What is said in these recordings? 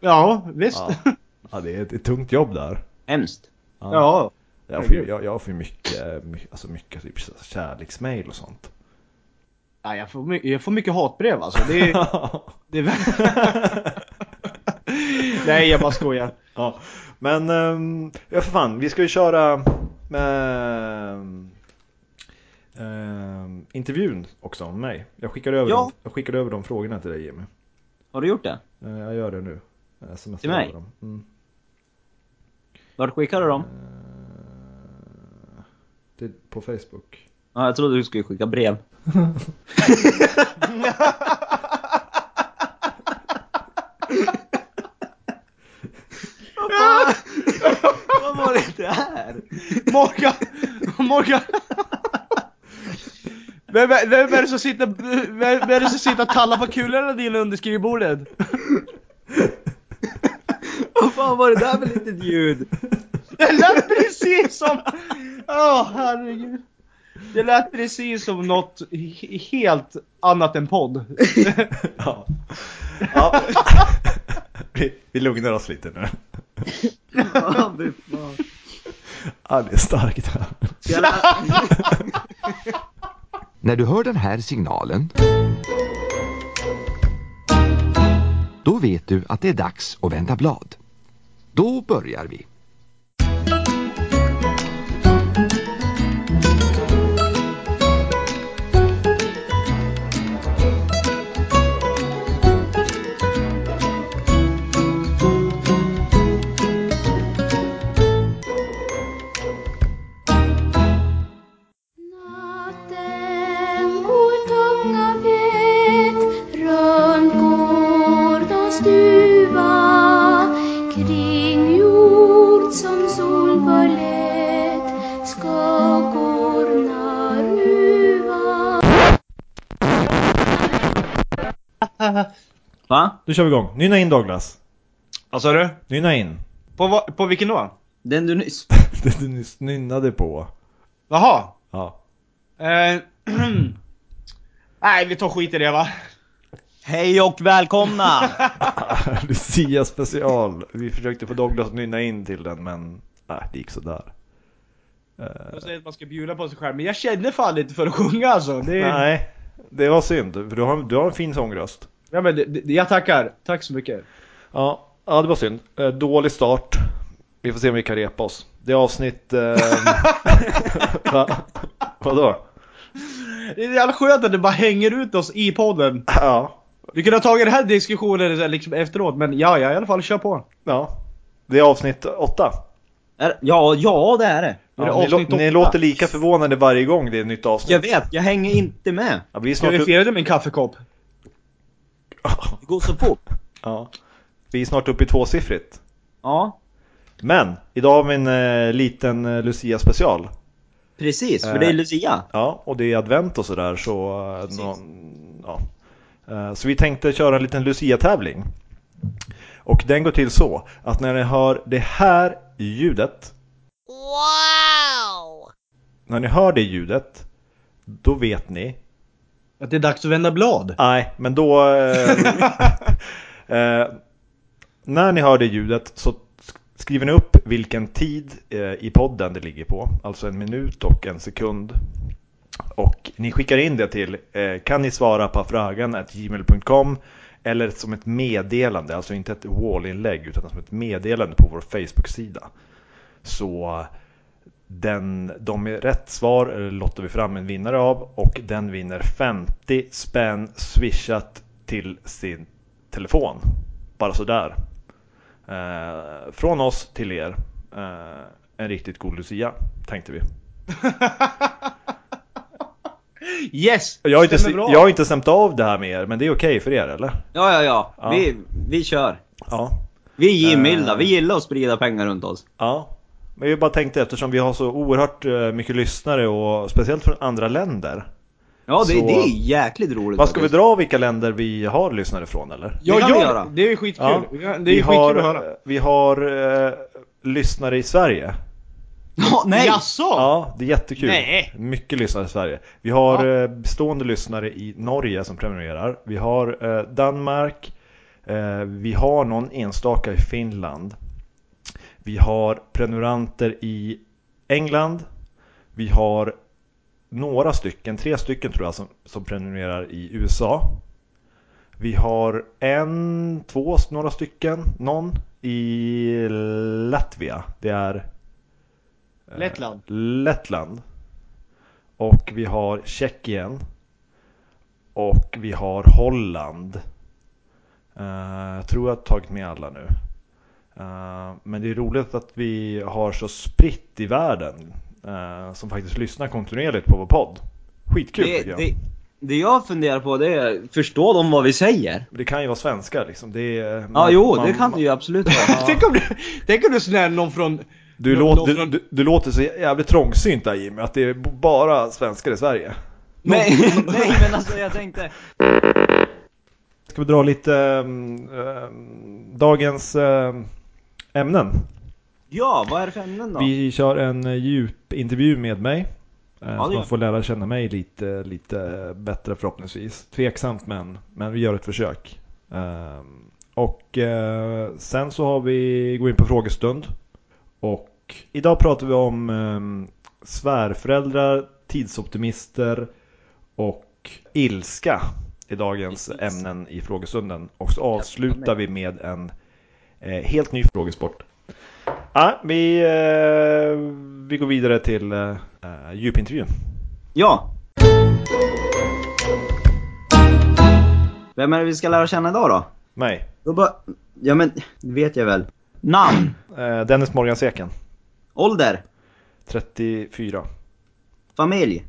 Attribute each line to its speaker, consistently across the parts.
Speaker 1: Ja, visst.
Speaker 2: Ja.
Speaker 1: Ja.
Speaker 3: Ja, det är ett, ett tungt jobb där.
Speaker 2: Hemskt.
Speaker 3: Jag får, ju- jag, jag får ju mycket, my- alltså mycket typ så här kärleksmail och sånt.
Speaker 1: Ja, jag, får mycket, jag får mycket hatbrev alltså. Det är, det är... Nej, jag bara skojar.
Speaker 3: Ja, men ehm, ja för fan, vi ska ju köra ehm, ehm, intervjun också om mig. Jag skickade över,
Speaker 2: Ja.
Speaker 3: dem, jag skickade över de frågorna till dig Jimmy.
Speaker 2: Har du gjort det?
Speaker 3: Eh, jag gör det nu. Jag smsar
Speaker 2: Till mig?
Speaker 3: över dem. Mm.
Speaker 2: Vart skickade du dem?
Speaker 3: Eh, till, på Facebook.
Speaker 2: Ja, jag trodde du skulle skicka brev. Vad var det där?
Speaker 1: Morgan! Morgan! Vem, är- vem är det som sitter, vem, vem är det som sitter och tallar på kulorna dina under skrivbordet?
Speaker 2: Vad fan var det där för litet ljud?
Speaker 1: Det lät precis som... Åh herregud. Det lät precis som något he- helt annat än podd.
Speaker 3: Ja. ja. vi, vi lugnar oss lite nu.
Speaker 2: Ja, fy fan.
Speaker 3: Ja, det är starkt här.
Speaker 2: Jävla-
Speaker 4: När du hör den här signalen då vet du att det är dags att vända blad. Då börjar vi.
Speaker 5: Natten går tunga vet runt gårdens stuva kring jord som sol förlät skuggorna ruva
Speaker 2: Va?
Speaker 3: Nu kör vi igång. Nynna in Douglas.
Speaker 1: Vad sa du?
Speaker 3: Nynna in.
Speaker 1: På, va- på vilken då?
Speaker 2: Den du nyss...
Speaker 3: Det du nyss nynnade på.
Speaker 1: Jaha.
Speaker 3: Ja.
Speaker 1: Eh, Nej, vi tar skit i det va?
Speaker 2: Hej och välkomna!
Speaker 3: Lucia special. Vi försökte få Douglas att nynna in till den men äh, det gick sådär. Eh,
Speaker 1: Jag säger att man ska bjuda på sig själv, men jag känner fan inte för att sjunga alltså. Det är...
Speaker 3: nej, det var synd för du har, du har en fin sångröst.
Speaker 1: Ja, men det, det, jag tackar. Tack så mycket.
Speaker 3: Ja, ja det var synd. Eh, dålig start. Vi får se om vi kan repa oss. Det är avsnitt... Eh, va? Vadå?
Speaker 1: Det är jävla skönt att det bara hänger ut oss i podden.
Speaker 3: Ja,
Speaker 1: Vi kunde ha tagit den här diskussionen så här liksom efteråt, men ja, ja, i alla fall kör på.
Speaker 3: ja. Det är avsnitt åtta.
Speaker 2: Är- Ja, ja det är det.
Speaker 1: Är det
Speaker 3: Ja, ni,
Speaker 1: avsnitt
Speaker 3: lå- ni
Speaker 1: åtta?
Speaker 3: låter lika förvånade varje gång det är ett nytt
Speaker 2: Jag
Speaker 3: avsnitt.
Speaker 2: vet, jag hänger inte med.
Speaker 3: Ja, vi är
Speaker 1: Ska
Speaker 3: snart,
Speaker 1: vi
Speaker 3: upp...
Speaker 1: fira det med en kaffekopp?
Speaker 2: Det går så fort.
Speaker 3: ja. vi är snart uppe i tvåsiffrigt.
Speaker 2: Ja,
Speaker 3: Men idag har vi en eh, liten eh, Lucia special.
Speaker 2: precis. För
Speaker 3: Eh.
Speaker 2: det är Lucia.
Speaker 3: Ja, och det är advent och sådär så... eh,
Speaker 2: Precis.
Speaker 3: någon- ja. Eh, Så vi tänkte köra en liten Lucia-tävling. Och den går till så att när ni hör det här ljudet,
Speaker 5: Wow!
Speaker 3: när ni hör det ljudet, då vet ni.
Speaker 1: Att det är dags att vända blad?
Speaker 3: Nej, men då... eh, eh, när ni hör det ljudet så sk- skriver ni upp vilken tid eh, i podden det ligger på, alltså en minut och en sekund. Och ni skickar in det till eh, kan ni svara på frågan att gmail.com eller som ett meddelande, alltså inte ett wall-inlägg utan som ett meddelande på vår Facebook-sida. Så den, de med rätt svar eh, lottar vi fram en vinnare av och den vinner 50 spänn swishat till sin telefon. Bara sådär. Eh, från oss till er. Eh, en riktigt god Lucia, tänkte vi.
Speaker 1: Yes!
Speaker 3: Jag har, inte,
Speaker 1: stämmer
Speaker 3: jag
Speaker 1: bra.
Speaker 3: har inte stämt av det här med er, men det är okej för er eller?
Speaker 2: Ja, ja, ja.
Speaker 3: Ja.
Speaker 2: Vi, vi kör.
Speaker 3: Ja.
Speaker 2: Vi är givmilda.
Speaker 3: Eh.
Speaker 2: Vi gillar att sprida pengar runt oss.
Speaker 3: ja. Men jag bara tänkte eftersom vi har så oerhört eh, mycket lyssnare och speciellt från andra länder.
Speaker 2: Ja, det,
Speaker 3: Så-
Speaker 2: det är jäkligt roligt.
Speaker 3: Vad ska vi
Speaker 2: faktiskt.
Speaker 3: dra vilka länder vi har lyssnare från eller?
Speaker 1: Ja,
Speaker 2: Det kan vi
Speaker 1: gör
Speaker 2: göra.
Speaker 1: det. Det är skitkul.
Speaker 3: Ja.
Speaker 1: Det är
Speaker 3: vi
Speaker 1: skitkul
Speaker 3: har,
Speaker 1: att höra.
Speaker 3: Vi har eh, lyssnare i Sverige.
Speaker 2: Ja, nej!
Speaker 1: Jaså?
Speaker 3: Ja, det är jättekul.
Speaker 1: Nej.
Speaker 3: Mycket lyssnare i Sverige. Vi har eh, bestående lyssnare i Norge som prenumererar. Vi har eh, Danmark, Eh, Vi har någon enstaka i Finland. Vi har prenumeranter i England. Vi har några stycken, tre stycken tror jag, som, som prenumererar i USA. Vi har en, två, några stycken, någon i Latvia. Det är eh,
Speaker 1: Lettland.
Speaker 3: Lettland. Och vi har Tjeckien. Och vi har Holland. Eh, Jag tror jag har tagit med alla nu. Eh, Men det är roligt att vi har så spritt i världen eh, som faktiskt lyssnar kontinuerligt på vår podd. Skitkul
Speaker 2: Det,
Speaker 3: tycker jag.
Speaker 2: det, det jag funderar på det är, förstår de vad vi säger?
Speaker 3: Det kan ju vara svenskar liksom. Det är,
Speaker 2: Ja,
Speaker 3: Mm. man-
Speaker 2: jo, det
Speaker 3: man-
Speaker 2: kan det ju absolut vara.
Speaker 1: tänk om du, tänk om du är sån där någon från...
Speaker 3: Du,
Speaker 1: Nå-
Speaker 3: låter,
Speaker 1: någon
Speaker 3: du,
Speaker 1: från-
Speaker 3: du, du låter så jävligt trångsynt där Jimmy, att det är b- bara svenskar i Sverige.
Speaker 2: nej, nej, men alltså jag tänkte...
Speaker 3: Ska vi dra lite ehm, ehm, dagens ehm, ämnen?
Speaker 2: Ja, vad är det för ämnen då?
Speaker 3: Vi kör en eh, djupintervju med mig. eh,
Speaker 2: det
Speaker 3: så
Speaker 2: gör
Speaker 3: man får lära känna mig lite, lite bättre förhoppningsvis. Tveksamt men, men vi gör ett försök. Ehm, och eh, sen så har vi, går in på frågestund. Och idag pratar vi om ehm, svärföräldrar, tidsoptimister och ilska i dagens ämnen i frågestunden. Och så avslutar vi med en eh, helt ny frågesport. Ja, vi, eh, vi går vidare till eh, eh, djupintervjun.
Speaker 2: Ja. Vem är det vi ska lära känna idag då?
Speaker 3: Nej,
Speaker 2: Då bara... Ja men, det vet jag väl. Namn,
Speaker 3: eh, Dennis Morganseken,
Speaker 2: ålder,
Speaker 3: 34.
Speaker 2: familj.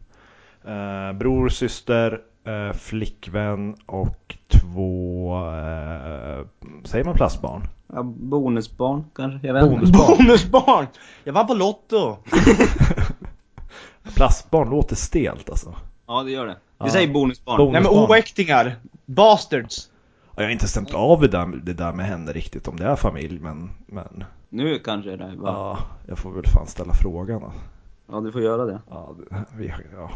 Speaker 3: Eh, bror, syster, eh, flickvän och två, eh, säger man plastbarn?
Speaker 2: Ja, bonusbarn kanske, jag vet inte.
Speaker 3: Bonusbarn.
Speaker 1: Bonusbarn! Jag vann på Lotto!
Speaker 3: Plastbarn låter stelt alltså.
Speaker 2: Ja det gör det. Vi
Speaker 3: Ja.
Speaker 2: säger bonusbarn.
Speaker 3: Bonus-
Speaker 1: Nej men oäktingar! Bastards!
Speaker 3: Ja, Jag har inte stämt av det där, det där med henne riktigt om det är familj men, men
Speaker 2: nu kanske det är bara. Ja.
Speaker 3: ja, jag får väl fan ställa frågan. alltså.
Speaker 2: du får göra det.
Speaker 3: Ja, det- vi, ja.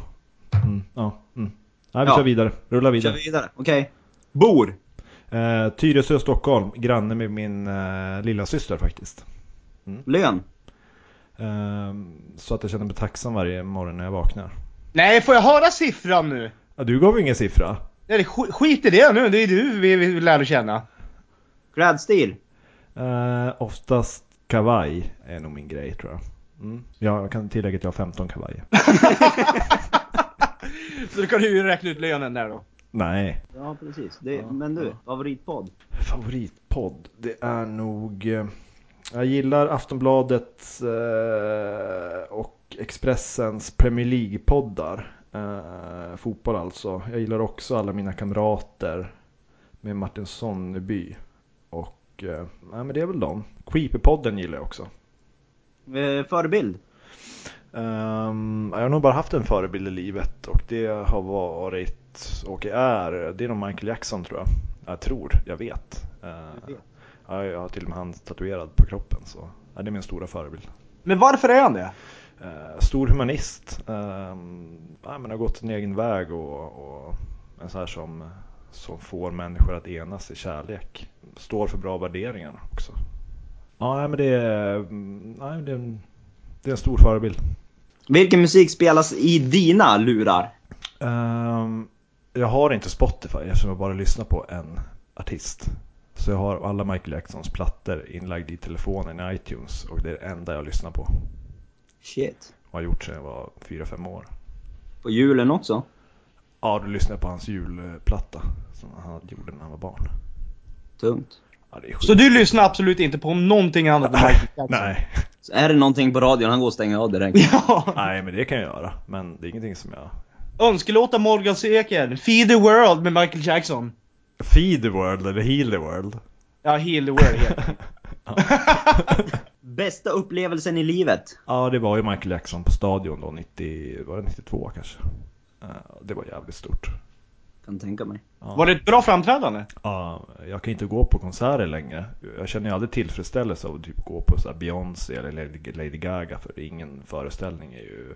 Speaker 3: Mm, ja, mm. Nej, vi
Speaker 2: Ja.
Speaker 3: kör vidare, rulla
Speaker 2: Kör
Speaker 3: vidare.
Speaker 2: vi vidare, okej. Bor.
Speaker 3: Eh, Tyresö, Stockholm, granne med min eh, lilla syster faktiskt.
Speaker 2: Lön.
Speaker 3: Eh, så att jag känner mig tacksam varje morgon när jag vaknar.
Speaker 1: Nej, får jag höra siffran nu?
Speaker 3: Ja, du gav ju ingen siffra.
Speaker 1: Nej, sk- skit i det nu, det är du vi, vi lär känna.
Speaker 2: Klädstil.
Speaker 3: Eh, oftast kavaj är nog min grej tror jag. Mm. Ja, jag kan tillägga att jag har 15 kavajer.
Speaker 1: Så då kan du ju räkna ut lönen där då.
Speaker 3: Nej.
Speaker 2: Ja precis. Det, men du, favoritpodd?
Speaker 3: Favoritpodd? Det är nog... eh, Jag gillar Aftonbladet eh, och Expressens Premier League-poddar. Eh, Fotboll alltså. Jag gillar också alla mina kamrater med Martin Sonneby. Och eh, nej, men det är väl dem. Creepypodden gillar jag också.
Speaker 2: Eh, förebild?
Speaker 3: Ehm, jag har nog bara haft en förebild i livet och det har varit och är, det är nog Michael Jackson tror jag. Jag tror, jag vet. Eh, ja, jag har till och med han tatuerad på kroppen så ja, det är min stora förebild.
Speaker 1: Men varför är han det?
Speaker 3: Eh, stor humanist, ehm, ja, men har gått sin egen väg och, och en sån här som, som får människor att enas i kärlek. Står för bra värderingar också. Ja, nej, men det är, mm, nej, det är, en, det är en stor förebild.
Speaker 2: Vilken musik spelas i dina lurar?
Speaker 3: Ehm, jag har inte Spotify eftersom jag bara lyssnar på en artist. Så jag har alla Michael Jacksons plattor inlagda i telefonen i iTunes och det är det enda jag lyssnar på.
Speaker 2: Shit.
Speaker 3: Och har gjort sedan jag var 4-5 år.
Speaker 2: På julen också?
Speaker 3: Ja, då lyssnar jag på hans julplatta som han gjorde när han var barn.
Speaker 2: Tungt.
Speaker 3: Ja, det är
Speaker 1: Så du lyssnar absolut inte på någonting annat än Michael Jackson?
Speaker 3: Nej.
Speaker 2: Så är det någonting på radion, han går och stänger av direkt.
Speaker 1: Ja.
Speaker 3: Nej, men det kan jag göra. Men det är ingenting som jag...
Speaker 1: Önskelåta Morgan Seker, Feed the World med Michael Jackson.
Speaker 3: Feed the world eller heal the world.
Speaker 1: Ja, Heal the World heter den.
Speaker 2: Bästa upplevelsen i livet?
Speaker 3: Ja, det var ju Michael Jackson på Stadion då, 90... Var det 92 kanske? Eh, Det var jävligt stort.
Speaker 2: Kan tänka mig.
Speaker 1: Var det ett bra framträdande?
Speaker 3: Ja, jag kan inte gå på konserter längre. Jag känner ju aldrig tillfredsställelse av att typ gå på så här Beyoncé eller Lady- Lady Gaga för ingen föreställning är ju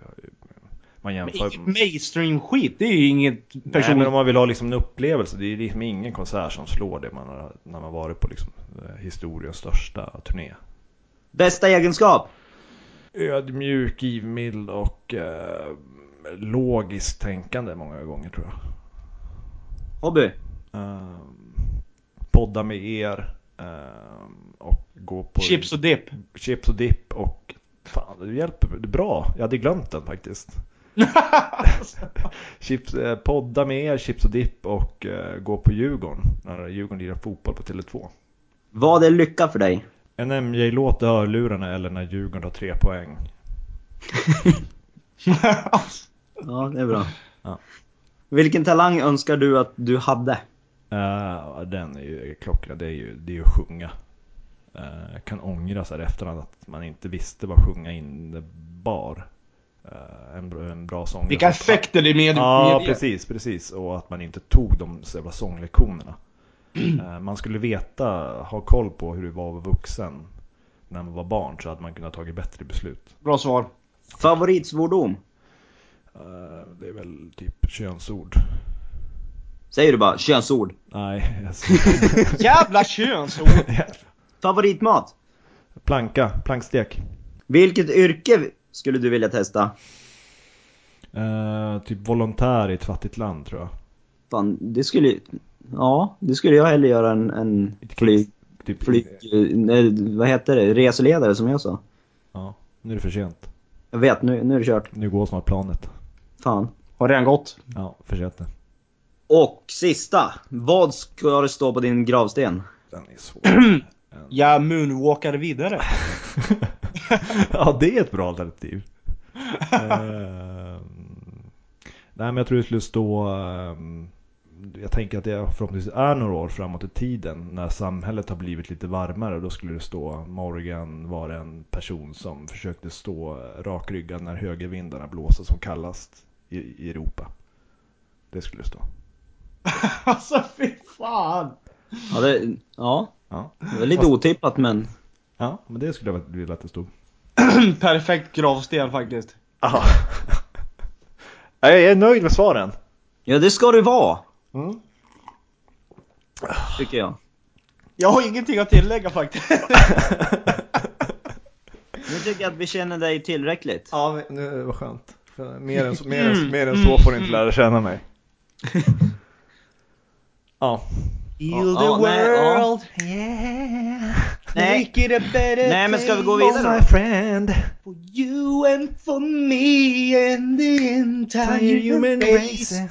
Speaker 3: man jämför.
Speaker 1: Men Mainstream-skit, det är ju inget
Speaker 3: Nej, men
Speaker 1: personligt...
Speaker 3: om man vill ha liksom en upplevelse, det är ju liksom ingen konsert som slår det man har, när man varit på liksom, eh, historiens största turné.
Speaker 2: Bästa egenskap?
Speaker 3: Ödmjuk, givmild och eh, logiskt tänkande många gånger tror jag.
Speaker 2: Hobby?
Speaker 3: Eh, podda med er eh, och gå på
Speaker 1: Chips och dipp.
Speaker 3: chips och dipp och fan, du hjälper mig. Det är bra. Jag hade glömt den faktiskt. chips, eh, podda med er, chips och dipp och eh, gå på Djurgården när Djurgården lirar fotboll på Tele2.
Speaker 2: Vad är lycka för dig?
Speaker 3: En MJ-låt i hörlurarna eller när Djurgården tar tre poäng.
Speaker 2: Ja, det är bra.
Speaker 3: Ja.
Speaker 2: Vilken talang önskar du att du hade?
Speaker 3: Eh, den är ju klockren, det är ju, det är ju att sjunga. Eh, kan ångra så här i efterhand att man inte visste vad sjunga innebar. Eh, en, bra- en bra sångare.
Speaker 1: Vilka effekter det med,
Speaker 3: Ja,
Speaker 1: medger.
Speaker 3: precis, precis. Och att man inte tog de så jävla sånglektionerna. Eh, Man skulle veta, ha koll på hur det var att vara vuxen när man var barn så hade man kunnat tagit bättre beslut.
Speaker 1: Bra svar.
Speaker 2: Favoritsvordom?
Speaker 3: Eh, Det är väl typ könsord.
Speaker 2: Säger du bara könsord?
Speaker 3: Nej, jag
Speaker 1: Jävla könsord!
Speaker 2: Favoritmat?
Speaker 3: Planka, plankstek.
Speaker 2: Vilket yrke skulle du vilja testa?
Speaker 3: Eh, typ volontär i ett fattigt land tror jag.
Speaker 2: Fan, det skulle Ja, det skulle jag hellre göra än, än
Speaker 3: Ett
Speaker 2: flyg...
Speaker 3: krigs- Typ,
Speaker 2: flyg eh, nej, vad heter det? Reseledare som jag sa.
Speaker 3: Ja, nu är det för sent.
Speaker 2: Jag vet, nu, nu är det kört.
Speaker 3: Nu går snart planet.
Speaker 2: Fan.
Speaker 1: Har redan gått.
Speaker 3: Ja, för sent nu.
Speaker 2: Och sista. Vad ska det stå på din gravsten?
Speaker 3: Den är svår.
Speaker 1: Jag moonwalkar vidare.
Speaker 3: ja, det är ett bra alternativ. Ehm, nej, men jag tror det skulle stå... ehm, jag tänker att det förhoppningsvis är några år framåt i tiden när samhället har blivit lite varmare. Då skulle det stå Morgan var en person som försökte stå rakryggad när högervindarna blåser som kallast i, i Europa. Det skulle det stå.
Speaker 1: Alltså fy fan!
Speaker 2: Ja, det, ja,
Speaker 3: Ja,
Speaker 2: det var lite otippat men...
Speaker 3: ja men det skulle jag vilja att det stod.
Speaker 1: Perfekt gravsten faktiskt.
Speaker 3: Ja. Jag är nöjd med svaren.
Speaker 2: Ja, det ska det vara! Mm. Tycker jag.
Speaker 1: Jag har ingenting att tillägga faktiskt.
Speaker 2: Nu tycker jag att vi känner dig tillräckligt.
Speaker 3: Ja, men det var skönt. För Mer än, mer än, mer än så får ni inte lära känna mig. Ja.
Speaker 1: Heal
Speaker 2: Ja,
Speaker 1: the
Speaker 2: nej, ja.
Speaker 1: world,
Speaker 2: Nej,
Speaker 1: make it a better
Speaker 2: Nej, men ska vi gå
Speaker 1: place
Speaker 2: vidare då?
Speaker 3: friend,
Speaker 1: For you and for me and the entire human race.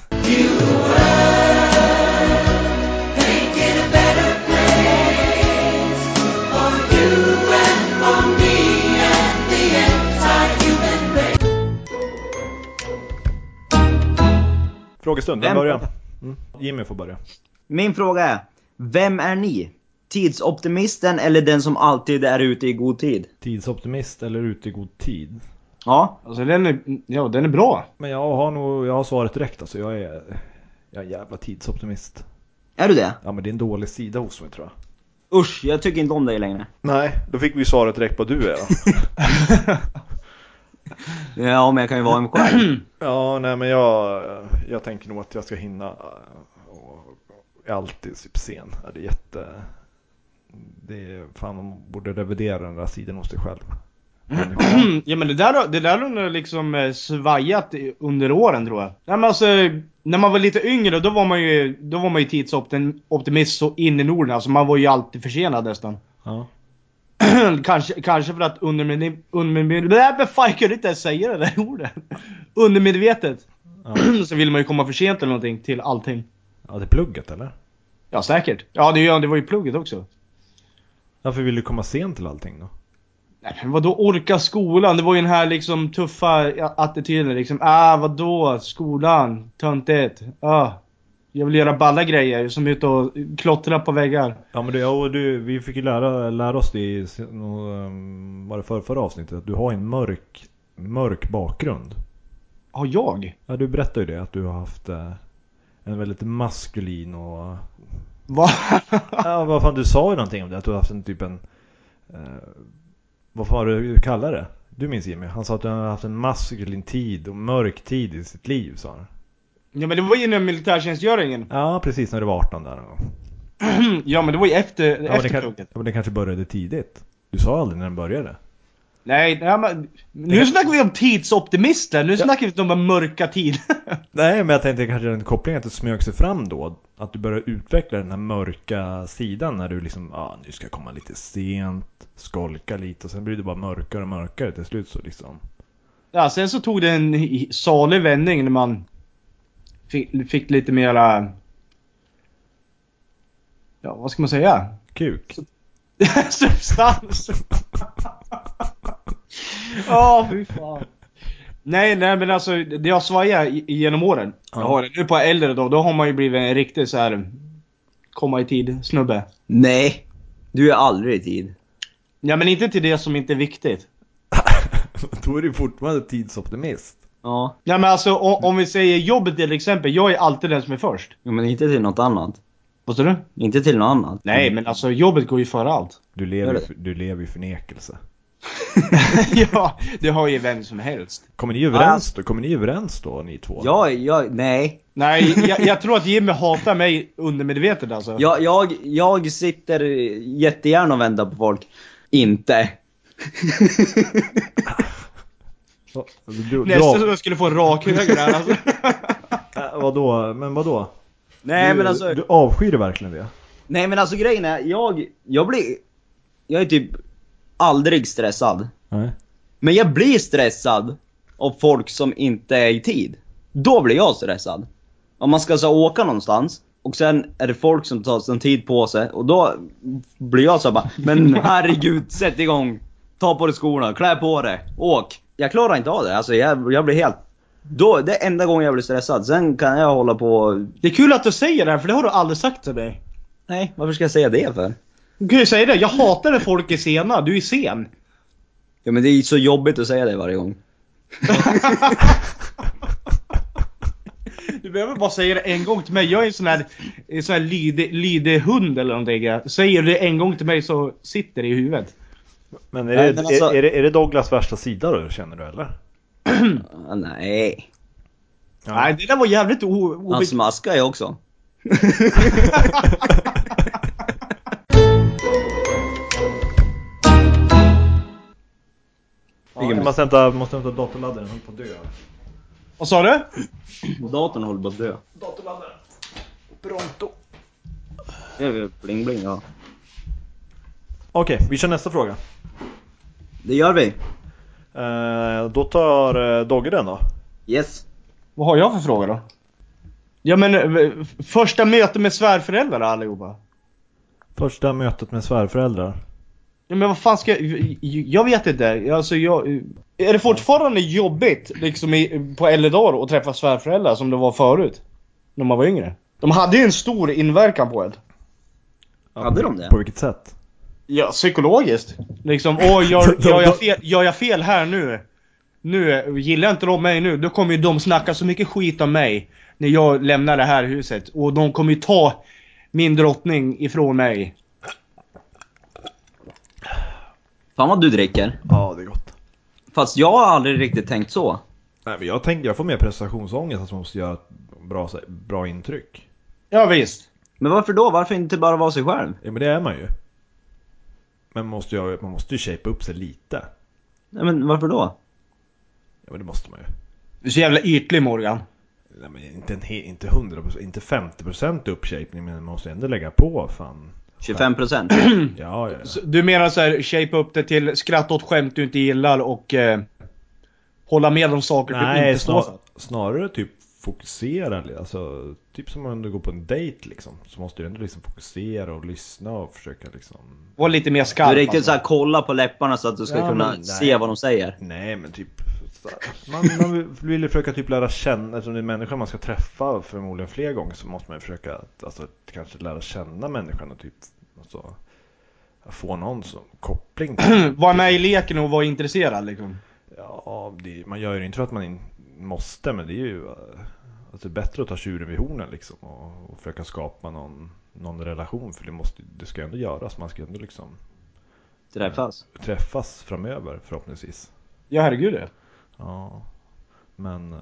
Speaker 3: Frågestund, vem
Speaker 2: Vem?
Speaker 3: börjar? Mm. Jimmy får börja.
Speaker 2: Min fråga är, vem är ni? Tidsoptimisten eller den som alltid är ute i god tid?
Speaker 3: Tidsoptimist eller ute i god tid?
Speaker 2: Ja,
Speaker 1: Alltså den är, ja den är bra.
Speaker 3: Men jag har nog, jag har svaret direkt alltså. Jag är, jag är en jävla tidsoptimist.
Speaker 2: är du det?
Speaker 3: Ja men det är en dålig sida hos mig tror jag.
Speaker 2: Usch, jag tycker inte om dig längre.
Speaker 3: Nej, då fick vi ju svaret direkt på du är då.
Speaker 2: Ja, men jag kan ju vara en själv.
Speaker 3: Ja, nej men jag, jag tänker nog att jag ska hinna eh, och och är alltid typ sen. Ja, Det är jätte... Det är, fan man borde revidera den där sidan hos sig själv. Människa.
Speaker 1: Ja men det där, har- det där har nog liksom eh, svajat i- under åren tror jag. Nej men alltså, när man var lite yngre då var man ju, då var man ju tidsoptimist så in i Norden. Alltså man var ju alltid försenad nästan.
Speaker 3: Ja.
Speaker 1: kanske, kanske för att undermedvetet... Undermed, men fan jag kunde inte ens säga det där ordet. Undermedvetet. så vill man ju komma för sent eller någonting till allting.
Speaker 3: ja, det är plugget eller?
Speaker 1: Ja säkert. Ja det, gör- det var ju plugget också.
Speaker 3: Varför vill du komma sent till allting då?
Speaker 1: Nej, men vadå orka skolan? Det var ju den här liksom tuffa ja, attityden liksom. Ah vadå skolan? Töntigt. Ah. Jag vill göra balla grejer som är ute och klottra på väggar.
Speaker 3: Ja men det, ja, och du, vi fick ju lära, lära oss det i se- nå- ehm, var det för, förra avsnittet, att du har en mörk, mörk bakgrund.
Speaker 1: Har jag?
Speaker 3: Ja du berättade ju det, att du har haft eh, en väldigt maskulin och
Speaker 1: Va?
Speaker 3: Ja, vad fan du sa ju någonting om det, att du har haft en typ en... Eh, vad fan har du kallar det? Du minns Jimmy, han sa att han hade haft en maskulin tid och mörk tid i sitt liv sa han.
Speaker 1: Ja men det var ju inom militärtjänstgöringen.
Speaker 3: Ja, precis när du var 18 där någon gång.
Speaker 1: ja men det var ju efter,
Speaker 3: Ja, men, det
Speaker 1: efter
Speaker 3: kan, ja,
Speaker 1: plugget.
Speaker 3: men det kanske började tidigt. Du sa aldrig när den började.
Speaker 1: Nej, nej men, nu snackar vi om tidsoptimister. Nu snackar vi inte om de mörka tider.
Speaker 3: Nej, men jag tänkte kanske den kopplingen att det smög sig fram då. Att du började utveckla den här mörka sidan när du liksom, ja ah, nu ska jag komma lite sent, skolka lite och sen blir det bara mörkare och mörkare till slut så liksom.
Speaker 1: Ja, sen så tog det en hi- salig vändning när man fick, fick lite mera... Ja, vad ska man säga?
Speaker 3: Kuk.
Speaker 1: Substans! Ja, fy fan. Nej, nej men alltså det jag svajar i- genom åren. Jag har det. Nu på äldre då, då har man ju blivit en riktig så här komma i tid snubbe.
Speaker 2: Nej, du är aldrig i tid.
Speaker 1: Ja men inte till det som inte är viktigt.
Speaker 3: då är du fortfarande tidsoptimist.
Speaker 2: Ja,
Speaker 1: Ja men alltså o- om vi säger jobbet till exempel. Jag är alltid den som är först.
Speaker 2: Ja, men inte till något annat.
Speaker 1: Vad sa du?
Speaker 2: Inte till något annat.
Speaker 1: Nej men alltså jobbet går ju före allt.
Speaker 3: Du lever, i- du lever i förnekelse.
Speaker 1: ja, det har ju vem som helst.
Speaker 3: Kommer ni överens då? Kommer ni överens då ni två?
Speaker 2: Jag, jag, nej.
Speaker 1: Nej, jag, jag tror att Jimmy hatar mig undermedvetet alltså.
Speaker 2: Jag, jag, jag sitter jättegärna och väntar på folk. Inte.
Speaker 3: Va- Du, du,
Speaker 1: Nästan som jag skulle få en rak höger där alltså.
Speaker 3: Äh, vadå? Men vadå?
Speaker 2: Nej
Speaker 3: du,
Speaker 2: men alltså,
Speaker 3: du avskyr verkligen det?
Speaker 2: nej men alltså grejen är, jag, jag blir, jag är typ aldrig stressad.
Speaker 3: Nej.
Speaker 2: Men jag blir stressad av folk som inte är i tid. Då blir jag stressad. Om man ska så åka någonstans och sen är det folk som tar sin tid på sig och då blir jag så här bara Men herregud, sätt igång! Ta på dig skorna, klä på dig, åk! Jag klarar inte av det, alltså jag, jag blir helt... Då, det är enda gången jag blir stressad, sen kan jag hålla på...
Speaker 1: Det är kul att du säger det här för det har du aldrig sagt till mig.
Speaker 2: Nej, varför ska jag säga det för?
Speaker 1: Du kan ju säga det, jag hatar när folk är sena, du är sen.
Speaker 2: Ja men det är ju så jobbigt att säga det varje gång.
Speaker 1: Du behöver bara säga det en gång till mig. Jag är en sån här, en sån här lydig, lydig hund eller någonting. Säger du det en gång till mig så sitter det i huvudet.
Speaker 3: Men är,
Speaker 2: Nej,
Speaker 3: det,
Speaker 2: men alltså-
Speaker 3: är, är, det, är det Douglas värsta sida då, känner du eller?
Speaker 2: Ah, nej.
Speaker 3: Ja.
Speaker 1: Nej, det där var jävligt o... o-
Speaker 2: Han smaskar ju också.
Speaker 3: Ja, jag måste hämta, måste hämta datorladdaren, han på att dö.
Speaker 1: Vad sa du?
Speaker 2: Datorn håller på att dö.
Speaker 3: Datorladdaren. Pronto.
Speaker 2: Det är väl bling bling ja.
Speaker 3: Okej, vi kör nästa fråga.
Speaker 2: Det gör vi.
Speaker 3: Eh, då tar eh, Dogge den då.
Speaker 2: Yes.
Speaker 1: Vad har jag för fråga då? Ja men, eh, f- första möte med svärföräldrar allihopa.
Speaker 3: Första mötet med svärföräldrar.
Speaker 1: Ja, men vad fan ska jag... Jag vet inte. Alltså, jag, är det fortfarande jobbigt liksom i, på äldre dagar att träffa svärföräldrar som det var förut? När man var yngre? De hade ju en stor inverkan på en.
Speaker 2: Hade de det?
Speaker 3: På vilket sätt?
Speaker 1: Ja, psykologiskt. Liksom, åh, gör, gör, jag fel, gör jag fel här nu? Nu, gillar inte de mig nu, då kommer ju de snacka så mycket skit om mig. När jag lämnar det här huset. Och de kommer ju ta min drottning ifrån mig.
Speaker 2: Fan vad du dricker.
Speaker 3: Ja, det är gott.
Speaker 2: Fast jag har aldrig riktigt tänkt så.
Speaker 3: Nej, men jag, tänker, jag får mer prestationsångest att man måste göra ett bra, bra intryck.
Speaker 1: Ja, visst.
Speaker 2: Men varför då? Varför inte bara vara sig själv?
Speaker 3: Ja, men det är man ju. Men man måste ju, man måste ju shapea upp sig lite.
Speaker 2: Nej men varför då?
Speaker 3: Ja, men det måste man ju.
Speaker 1: Du är så jävla ytlig Morgan.
Speaker 3: Nej, men inte, en, he- inte 100%, inte 50% uppshapning, men man måste ändå lägga på fan.
Speaker 2: 25%?
Speaker 3: Ja, ja, ja.
Speaker 1: Så Du menar så här, shape upp det till skratta åt skämt du inte gillar och eh, hålla med om saker du
Speaker 3: Nej,
Speaker 1: inte står
Speaker 3: snar,
Speaker 1: för?
Speaker 3: snarare typ fokusera. li- Alltså, typ som om du går på en dejt liksom. Så måste du ändå liksom fokusera och lyssna och försöka liksom.
Speaker 1: Var lite mer
Speaker 2: Du
Speaker 1: skarp.
Speaker 2: är riktigt
Speaker 1: alltså.
Speaker 2: såhär kolla på läpparna så att du ska
Speaker 3: Ja,
Speaker 2: kunna
Speaker 3: men nej.
Speaker 2: se vad de säger.
Speaker 3: Nej, men typ. så här, Man, man vill- vill ju försöka typ lära känna, eftersom det är människor man ska träffa förmodligen fler gånger så måste man ju försöka att, alltså, kanske lära känna människan och typ alltså, få någon som, koppling till.
Speaker 1: Var med i leken och var intresserad liksom.
Speaker 3: Ja, det, man gör ju inte för att man in, måste, men det är ju eh, alltså, bättre att ta tjuren vid hornen liksom och, och försöka skapa någon, någon relation för det, måste, det ska ju ändå göras. Man ska ju ändå liksom
Speaker 2: Träffas.
Speaker 3: träffas framöver förhoppningsvis.
Speaker 1: Ja herregud ja.
Speaker 3: Ja, men... eh,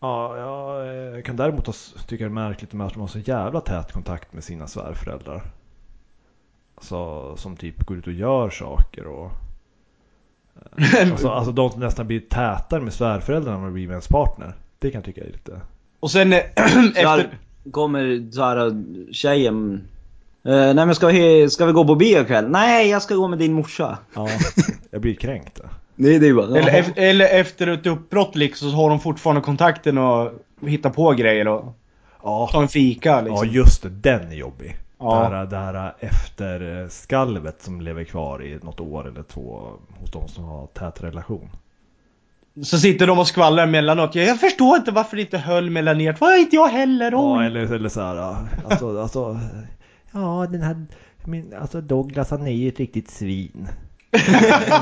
Speaker 3: Ja, jag eh, kan däremot ha s- tycka det är märkligt med att de har så jävla tät kontakt med sina svärföräldrar. Alltså, som typ går ut och gör saker och... eh, Alltså, alltså de som nästan blir tätare med svärföräldrarna än vad de blir med ens partner. Det kan jag tycka är lite...
Speaker 1: Och sen eh, efter...
Speaker 2: Där kommer så här tjejen. Eh, nej men ska vi, ska vi gå på bio ikväll? Nej, jag ska gå med din morsa.
Speaker 3: Ja, jag blir kränkt.
Speaker 2: Nej, det är bara,
Speaker 1: Eller, ef- eller efter ett uppbrott liksom så har de fortfarande kontakten och hittar på grejer och
Speaker 3: Ja,
Speaker 1: tar en fika
Speaker 3: ja
Speaker 1: liksom.
Speaker 3: just det. Den är jobbig.
Speaker 1: Ja.
Speaker 3: Det, här, det här efterskalvet som lever kvar i något år eller två hos de som har tät relation.
Speaker 1: Så sitter de och skvallrar emellanåt. Jag, jag förstår inte varför det inte höll mellan er. Var inte jag heller?
Speaker 3: Ja,
Speaker 1: Oj.
Speaker 3: eller, eller så här. ja. Alltså, alltså, ja, den här... Min, alltså Douglas han är ju ett riktigt svin.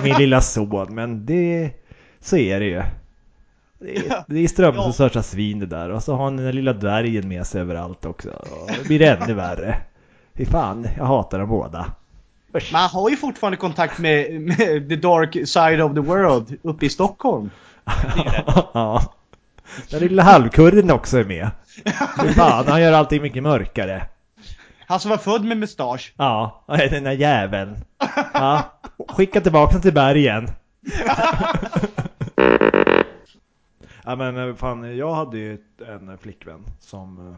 Speaker 3: Min lilla son, men det... Så är det ju. Det är, det är strömmen som största svin det där. Och så har han den där lilla dvärgen med sig överallt också. Och det blir ännu värre. Fy fan, jag hatar dem båda.
Speaker 1: Man har ju fortfarande kontakt med, med the dark side of the world uppe i Stockholm.
Speaker 3: ja. Den lilla halvkurden också är med. Fy fan, han gör allting mycket mörkare.
Speaker 1: Han som var född med mustasch.
Speaker 3: Ja, den där jäveln. Ja. Skicka tillbaka den till bergen. ja men eh, fan, jag hade ju ett- en eh, flickvän som... eh,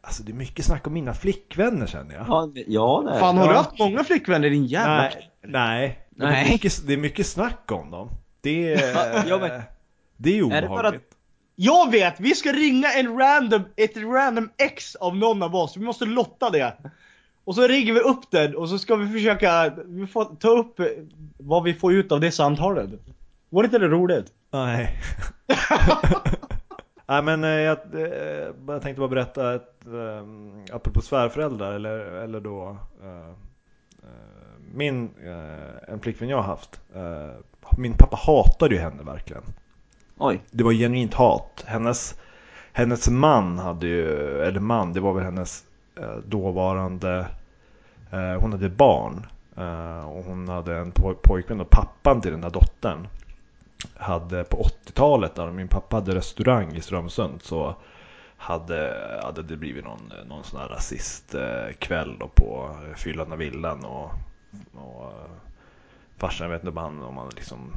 Speaker 3: Alltså det är mycket snack om mina flickvänner känner jag.
Speaker 2: ja, ja, det är
Speaker 1: Fan
Speaker 2: det.
Speaker 1: har du
Speaker 3: Ja.
Speaker 1: haft många flickvänner din jävla
Speaker 3: nej, nej. Det,
Speaker 2: Nej.
Speaker 3: är mycket, det är mycket snack om dem. Det är,
Speaker 2: Ja, men-
Speaker 3: det är
Speaker 2: Är det för att-
Speaker 3: obehagligt.
Speaker 1: Jag vet! Vi ska ringa en random, ett random ex av någon av oss. Vi måste lotta det. Och så ringer vi upp den och så ska vi försöka vi får ta upp eh, vad vi får ut av det samtalet. Var inte det roligt?
Speaker 3: Nej. Nej men eh, jag, eh, jag tänkte bara berätta ett, eh, apropå svärföräldrar eller, eller då eh, eh, min, eh, en flickvän jag har haft. Eh, min pappa hatade ju henne verkligen.
Speaker 2: Oj.
Speaker 3: Det var genuint hat. Hennes, hennes man hade ju, eller man, det var väl hennes eh, dåvarande, eh, hon hade barn. Eh, och hon hade en poj- pojkvän och pappan till den här dottern. Hade på 80-talet, där min pappa hade restaurang i Strömsund, så hade, hade det blivit någon, någon sån här rasistkväll då på eh, fyllan av villan. Och, och eh, farsan, jag vet inte om han, om han liksom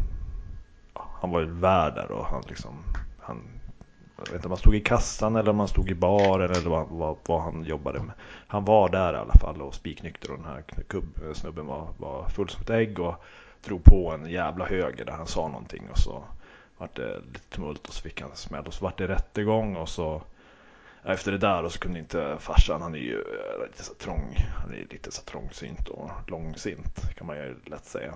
Speaker 3: han var ju värd där och han liksom han, jag vet inte om han stod i kassan eller om han stod i baren eller vad, vad, vad han jobbade med. Han var där i alla fall och spiknykter och den här kubb, snubben var, var full som ett ägg och drog på en jävla höger där han sa någonting och så vart det lite tumult och så fick han en smäll och så vart det rättegång och så efter det där och så kunde inte farsan, han är ju eh, lite så trång, han är lite så trångsynt och långsint kan man ju lätt säga.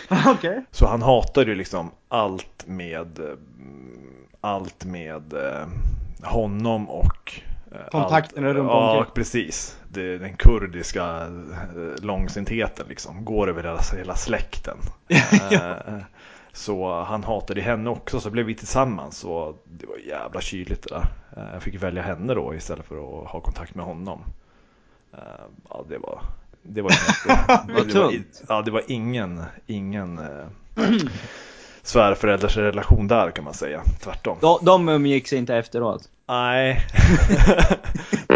Speaker 1: Okej.
Speaker 3: Så han hatar ju liksom allt med mm, allt med eh, honom och eh,
Speaker 1: Kontakterna
Speaker 3: allt,
Speaker 1: runt
Speaker 3: Ja,
Speaker 1: omkring.
Speaker 3: precis. Det, den kurdiska eh, långsintheten liksom går över hela, hela släkten. Eh, Så han hatade henne också, så blev vi tillsammans och det var jävla kyligt det där. Eh, Jag fick välja henne då istället för att ha kontakt med honom. Eh, Ja, det var... Det var, det var, det var,
Speaker 2: tungt.
Speaker 3: ja, det var ingen, ingen eh, svärförälders relation där kan man säga. Tvärtom.
Speaker 2: De, de umgicks inte efteråt.
Speaker 3: Nej.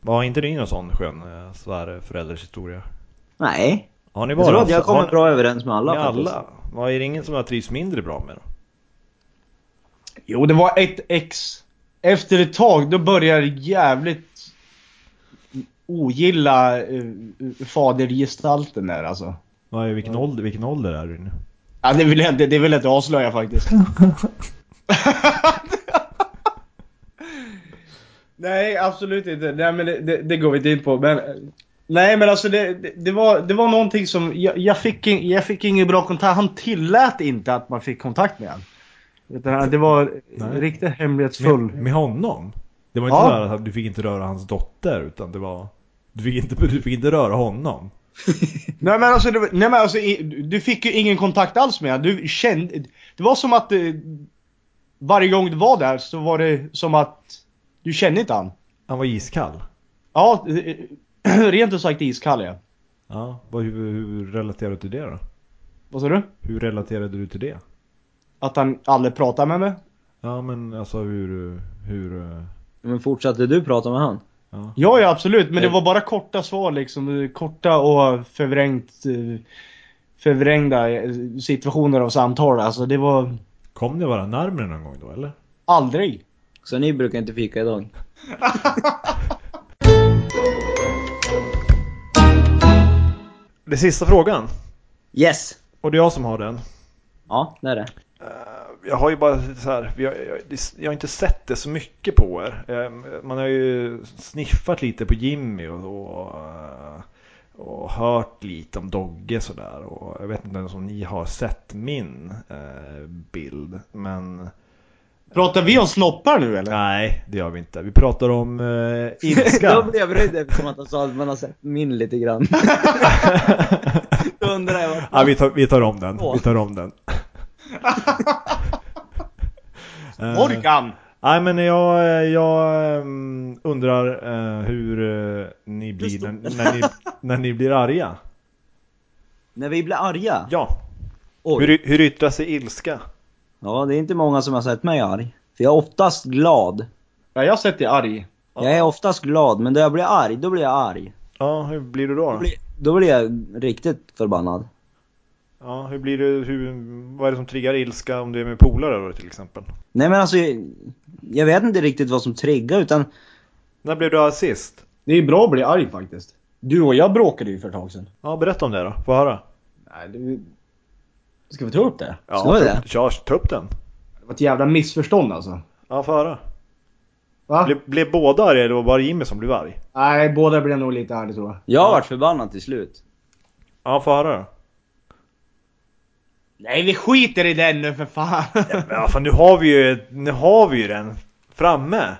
Speaker 3: Var inte det någon sån skön eh, svärförälders historia?
Speaker 2: Nej.
Speaker 3: Har ni
Speaker 2: Jag tror att
Speaker 3: har
Speaker 2: jag kommer
Speaker 3: ni-
Speaker 2: bra överens med alla
Speaker 3: ni
Speaker 2: faktiskt.
Speaker 3: alla? Vad är det ingen som har trivs mindre bra med då?
Speaker 1: Jo, det var ett ex. Efter ett tag, då börjar jag jävligt ogilla eh, fadergestalten där alltså.
Speaker 3: Vad är, vilken, ålder, vilken ålder är du nu?
Speaker 1: Ja, det vill jag inte, det vill jag inte avslöja faktiskt. nej, absolut inte. Nej, men det, det, det går vi inte in på. Men, nej, men alltså det, det, det, var, det var någonting som... Jag, jag, fick, in- jag fick ingen bra kontakt. Han tillät inte att man fick kontakt med honom. Utan det var
Speaker 3: Nej.
Speaker 1: riktigt hemlighetsfull.
Speaker 3: Med, med honom? Det var inte
Speaker 1: Ja.
Speaker 3: så här att du fick inte röra hans dotter utan det var... Du fick inte, du fick inte röra honom.
Speaker 1: Nej men alltså, det, var- nej, men alltså i- du fick ju ingen kontakt alls med honom. Du kände... Det var som att eh, varje gång du var där så var det som att du kände inte han.
Speaker 3: Han var iskall.
Speaker 1: Ja, eh, rent ut sagt iskall ja.
Speaker 3: Ja, vad, hur, hur relaterar du till det då?
Speaker 1: Vad sa du?
Speaker 3: Hur relaterade du till det?
Speaker 1: Att han aldrig pratar med mig?
Speaker 3: Ja men alltså hur, hur... eh,
Speaker 2: Men fortsatte du prata med han?
Speaker 3: Ja.
Speaker 1: Ja, ja absolut. Men det var bara korta svar liksom. eh, Korta och förvrängt, eh, förvrängda eh, situationer av samtal. Alltså det var
Speaker 3: Kom ni vara närmare någon gång då eller?
Speaker 1: aldrig.
Speaker 2: Så ni brukar inte fika idag?
Speaker 3: Det sista frågan.
Speaker 2: Yes!
Speaker 3: Och det är jag som har den.
Speaker 2: Ja, det är det.
Speaker 3: Eh, Jag har ju bara så här, jag, jag, det- jag har inte sett det så mycket på er. Eh, Man har ju sniffat lite på Jimmy och, och, eh, och hört lite om Dogge sådär. Och jag vet inte ens om ni har sett min eh, bild. Men
Speaker 1: Pratar vi om snoppar nu eller?
Speaker 3: nej, det gör vi inte. Vi pratar om eh, ilska.
Speaker 2: Då blev jag brydd eftersom att han sa att man har sett min lite grann. Då undrar jag vart...
Speaker 3: Ja, vi, tar, vi tar om den. Vi tar om den. Eh,
Speaker 1: Morgan!
Speaker 3: Nej men jag, jag ehm, undrar eh, hur eh, ni blir när, när, ni, när ni blir arga.
Speaker 2: När vi blir arga?
Speaker 3: Ja.
Speaker 2: Oj.
Speaker 3: Hur, hur yttrar sig ilska?
Speaker 2: Ja, det är inte många som har sett mig arg. För jag är oftast glad.
Speaker 1: Ja, jag har sett dig arg.
Speaker 2: Jag är oftast glad, men när jag blir arg, då blir jag arg.
Speaker 3: Ja, hur blir du då?
Speaker 2: Då
Speaker 3: då?
Speaker 2: blir, då blir jag riktigt förbannad.
Speaker 3: Ja, hur blir du, hur, vad är det som triggar ilska om du är med polare då till exempel?
Speaker 2: Nej men alltså, jag- jag vet inte riktigt vad som triggar utan...
Speaker 3: När blev du arg sist?
Speaker 1: Det är bra att bli arg faktiskt. Du och jag bråkade ju för ett tag sedan.
Speaker 3: Ja, berätta om det då. Få höra.
Speaker 1: Nej, det... Ska vi ta upp det?
Speaker 3: Ja,
Speaker 2: Ska vi det?
Speaker 3: Kör, ta upp den.
Speaker 1: Det var ett jävla missförstånd alltså.
Speaker 3: Ja, få höra.
Speaker 1: Va?
Speaker 3: Blev, blev båda arga eller var det bara Jimmy som blev arg?
Speaker 1: Nej, båda blev nog lite arga tror jag.
Speaker 2: Jag har varit förbannad till slut.
Speaker 3: Ja, få höra då.
Speaker 1: Nej, vi skiter i den nu för fan.
Speaker 3: Ja, fan nu har vi ju, nu har vi ju den framme.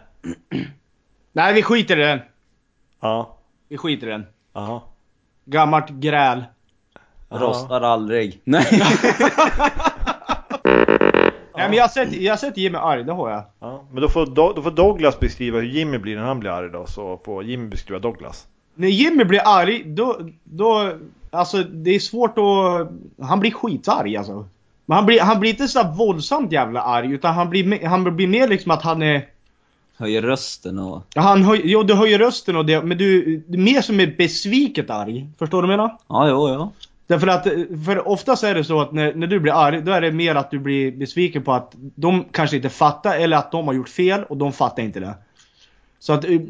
Speaker 1: Nej, vi skiter i den.
Speaker 3: Ja,
Speaker 1: Vi skiter i den.
Speaker 3: ja.
Speaker 1: Gammalt gräl.
Speaker 3: Ja.
Speaker 2: Rostar aldrig. Nej.
Speaker 1: Nej, men jag har, sett, jag har sett Jimmy arg, det har jag.
Speaker 3: Ja, men då får, Do- då får Douglas beskriva hur Jimmy blir när han blir arg då, så får Jimmy beskriva Douglas.
Speaker 1: När Jimmy blir arg, då... då alltså det är svårt att... Han blir skitarg alltså. Men han blir, han blir inte sådär våldsamt jävla arg, utan han blir, me- han blir mer liksom att han är...
Speaker 2: Höjer rösten och...
Speaker 1: Ja, han höj, jo, du höjer rösten och det, men du... du är Mer som är besviket arg. Förstår du vad jag menar?
Speaker 2: Ja, jo, jo.
Speaker 1: Därför att, eh, för oftast är det så att när, när du blir arg, då är det mer att du blir besviken på att de kanske inte fattar eller att de har gjort fel och de fattar inte det. Så att eh,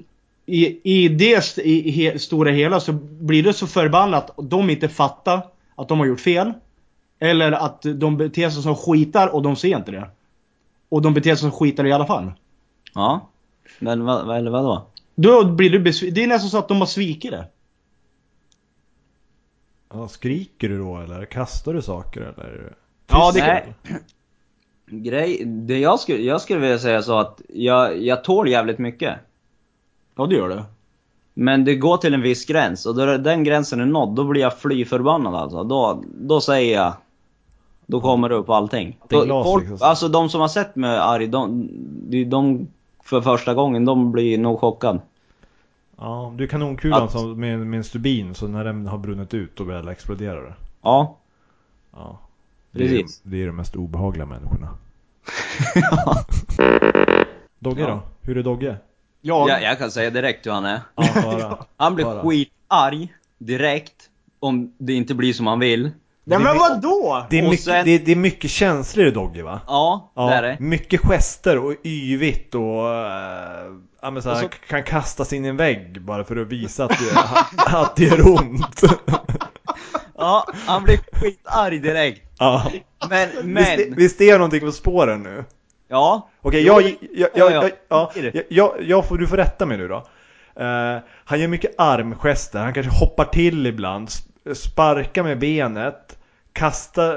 Speaker 1: i, i det st- i, i he, stora hela så blir det så förbannat att de inte fattar att de har gjort fel. Eller att de beter sig som skitar och de ser inte det. Och de beter sig som skitar i alla fall.
Speaker 2: Ja. Men vad, vad, eller vadå?
Speaker 1: Då blir du besviken. Det är nästan så att de har svikit det.
Speaker 3: Ja, skriker du då eller kastar du saker eller?
Speaker 1: Ja, det
Speaker 2: Nej. Grej, det jag skulle, jag skulle vilja säga så att jag, jag tål jävligt mycket.
Speaker 1: Ja, det gör det.
Speaker 2: Men det går till en viss gräns och då den gränsen är nådd, då blir jag fly förbannad alltså. Då, då säger jag... Då kommer det upp allting.
Speaker 3: Det är
Speaker 2: Då,
Speaker 3: glas,
Speaker 2: folk,
Speaker 3: liksom.
Speaker 2: Alltså de som har sett mig arg, de, de, de för första gången, de blir nog chockade.
Speaker 3: Ja, du är kanonkulan
Speaker 2: Att-
Speaker 3: som, med, med en stubin så när den har brunnit ut då börjar det explodera det.
Speaker 2: Ja,
Speaker 3: Ja. Det är,
Speaker 2: precis.
Speaker 3: det är de mest obehagliga människorna.
Speaker 2: ja.
Speaker 3: Dogge
Speaker 2: Ja.
Speaker 3: då? Hur är Dogge?
Speaker 1: Ja,
Speaker 2: jag, jag kan säga direkt hur han är.
Speaker 3: Ja, få höra.
Speaker 2: Han blir
Speaker 3: Bara.
Speaker 2: skitarg direkt om det inte blir som han vill.
Speaker 1: Nej, men vadå?
Speaker 3: det, är
Speaker 2: Och
Speaker 3: mycket,
Speaker 2: sen-
Speaker 3: det, det är mycket känslor i Dogge va?
Speaker 2: Ja, det är det.
Speaker 3: mycket gester och yvigt och... eh, ja, men så här,
Speaker 1: Och så-
Speaker 3: han k- kan kastas in i en vägg bara för att visa att det, att det gör ont.
Speaker 2: Ja, han blir skitarg direkt.
Speaker 3: ja.
Speaker 2: Men,
Speaker 3: Visst,
Speaker 2: men.
Speaker 3: visst är jag någonting på spåren nu?
Speaker 2: Ja.
Speaker 3: Okej, jag, jag, jag, jag,
Speaker 2: Ja,
Speaker 3: jag,
Speaker 2: ja.
Speaker 3: ja, jag, jag, jag får, du får rätta mig nu då. Eh, han gör mycket armgester, han kanske hoppar till ibland, sp- sparkar med benet, kastar,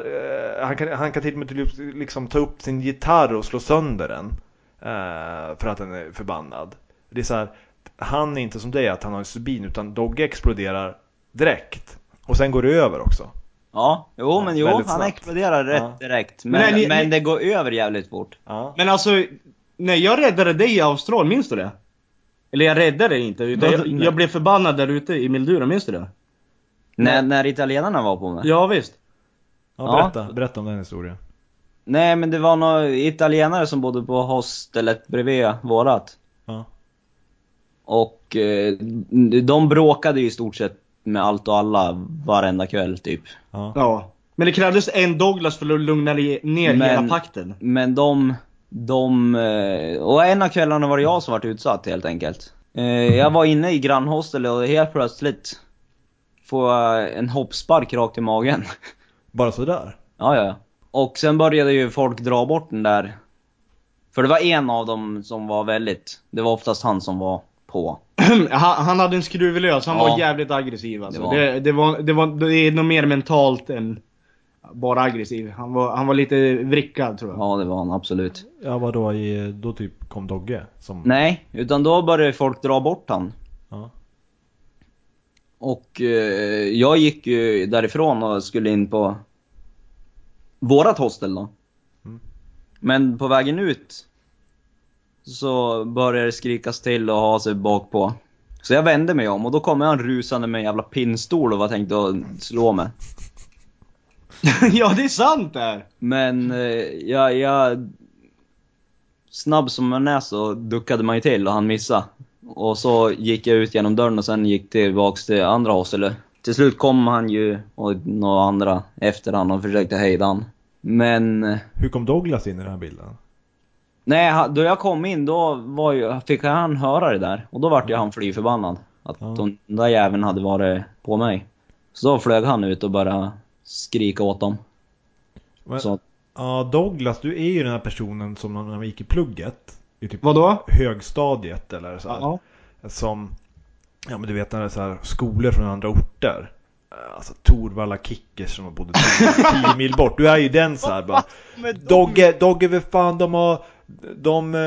Speaker 3: eh, han, kan, han kan till och med till, liksom ta upp sin gitarr och slå sönder den. eh, för att den är förbannad. Det är så här, han är inte som dig att han har en subin utan Dogge exploderar direkt. Och sen går det över också.
Speaker 2: Ja, jo men jo, han
Speaker 3: väldigt snabbt.
Speaker 2: exploderar rätt
Speaker 3: Ja.
Speaker 2: direkt. Men,
Speaker 1: Men
Speaker 2: men,
Speaker 1: ni- ni-
Speaker 2: det går över jävligt fort.
Speaker 3: Ja.
Speaker 1: Men alltså, när jag räddade dig i Australien, minns du det? Eller jag räddade dig inte, utan
Speaker 2: Vad-
Speaker 1: jag,
Speaker 2: nej.
Speaker 1: jag blev förbannad där ute i Mildura, minns du det?
Speaker 2: När, när italienarna var på mig.
Speaker 1: Ja, visst.
Speaker 3: Ja,
Speaker 2: Ja.
Speaker 3: berätta, berätta om den historien.
Speaker 2: Nej men det var några italienare som bodde på hostelet bredvid vårat.
Speaker 3: Ja.
Speaker 2: Och eh, de bråkade ju i stort sett med allt och alla varenda kväll typ.
Speaker 3: Ja.
Speaker 1: Ja. Men det krävdes en Douglas för att lugna re- ner
Speaker 2: Men-
Speaker 1: hela pakten.
Speaker 2: Men de, de... eh, Och en av kvällarna var det jag som vart utsatt helt enkelt. Eh, Jag var inne i grannhostelet och helt plötsligt får jag en hoppspark rakt i magen.
Speaker 3: Bara sådär?
Speaker 2: Ja, ja, ja. Och sen började ju folk dra bort den där. För det var en av dem som var väldigt... Det var oftast han som var på.
Speaker 1: han, han hade en skruv lös, han
Speaker 2: Ja.
Speaker 1: var jävligt aggressiv alltså.
Speaker 2: Det
Speaker 1: det,
Speaker 2: var
Speaker 1: var. Det, var, det, var, det är nog mer mentalt än bara aggressiv. Han var, han var lite vrickad tror jag.
Speaker 2: Ja, det var han absolut.
Speaker 3: Ja vadå, i, då typ kom Dogge? Som...
Speaker 2: Mm. Nej, utan då började folk dra bort han.
Speaker 3: Ja.
Speaker 2: Och eh, jag gick ju därifrån och skulle in på vårat hostel då.
Speaker 3: Mm.
Speaker 2: Men på vägen ut så började det skrikas till och ha sig bak på. Så jag vände mig om och då kom han rusande med en jävla pinnstol och var tänkt att slå mig.
Speaker 1: ja, det är sant det här!
Speaker 2: Men eh, jag, jag... Snabb som man är så duckade man ju till och han missade. Och så gick jag ut genom dörren och sen gick tillbaks till andra hostelet. Till slut kom han ju och några andra efter han och försökte hejda han. Men... eh,
Speaker 3: Hur kom Douglas in i den här bilden?
Speaker 2: Nej, ha- då jag kom in då var ju, fick han höra det där. Och då vart ju han fly förbannad. Att
Speaker 3: Ja.
Speaker 2: de den där jäveln hade varit på mig. Så då flög han ut och började skrika åt dem.
Speaker 3: Men,
Speaker 2: Så att,
Speaker 3: Ja, Douglas, du är ju den här personen som när man gick i plugget. I typ
Speaker 1: Vadå?
Speaker 3: högstadiet eller så här,
Speaker 1: Ja.
Speaker 3: Som, ja men du vet när det är så här, skolor från andra orter. Eh, Alltså Torvalla Kickers som bodde 10 mil bort. Du är ju den så här bara. Dogge, Dogge vad fan de har... De, eh,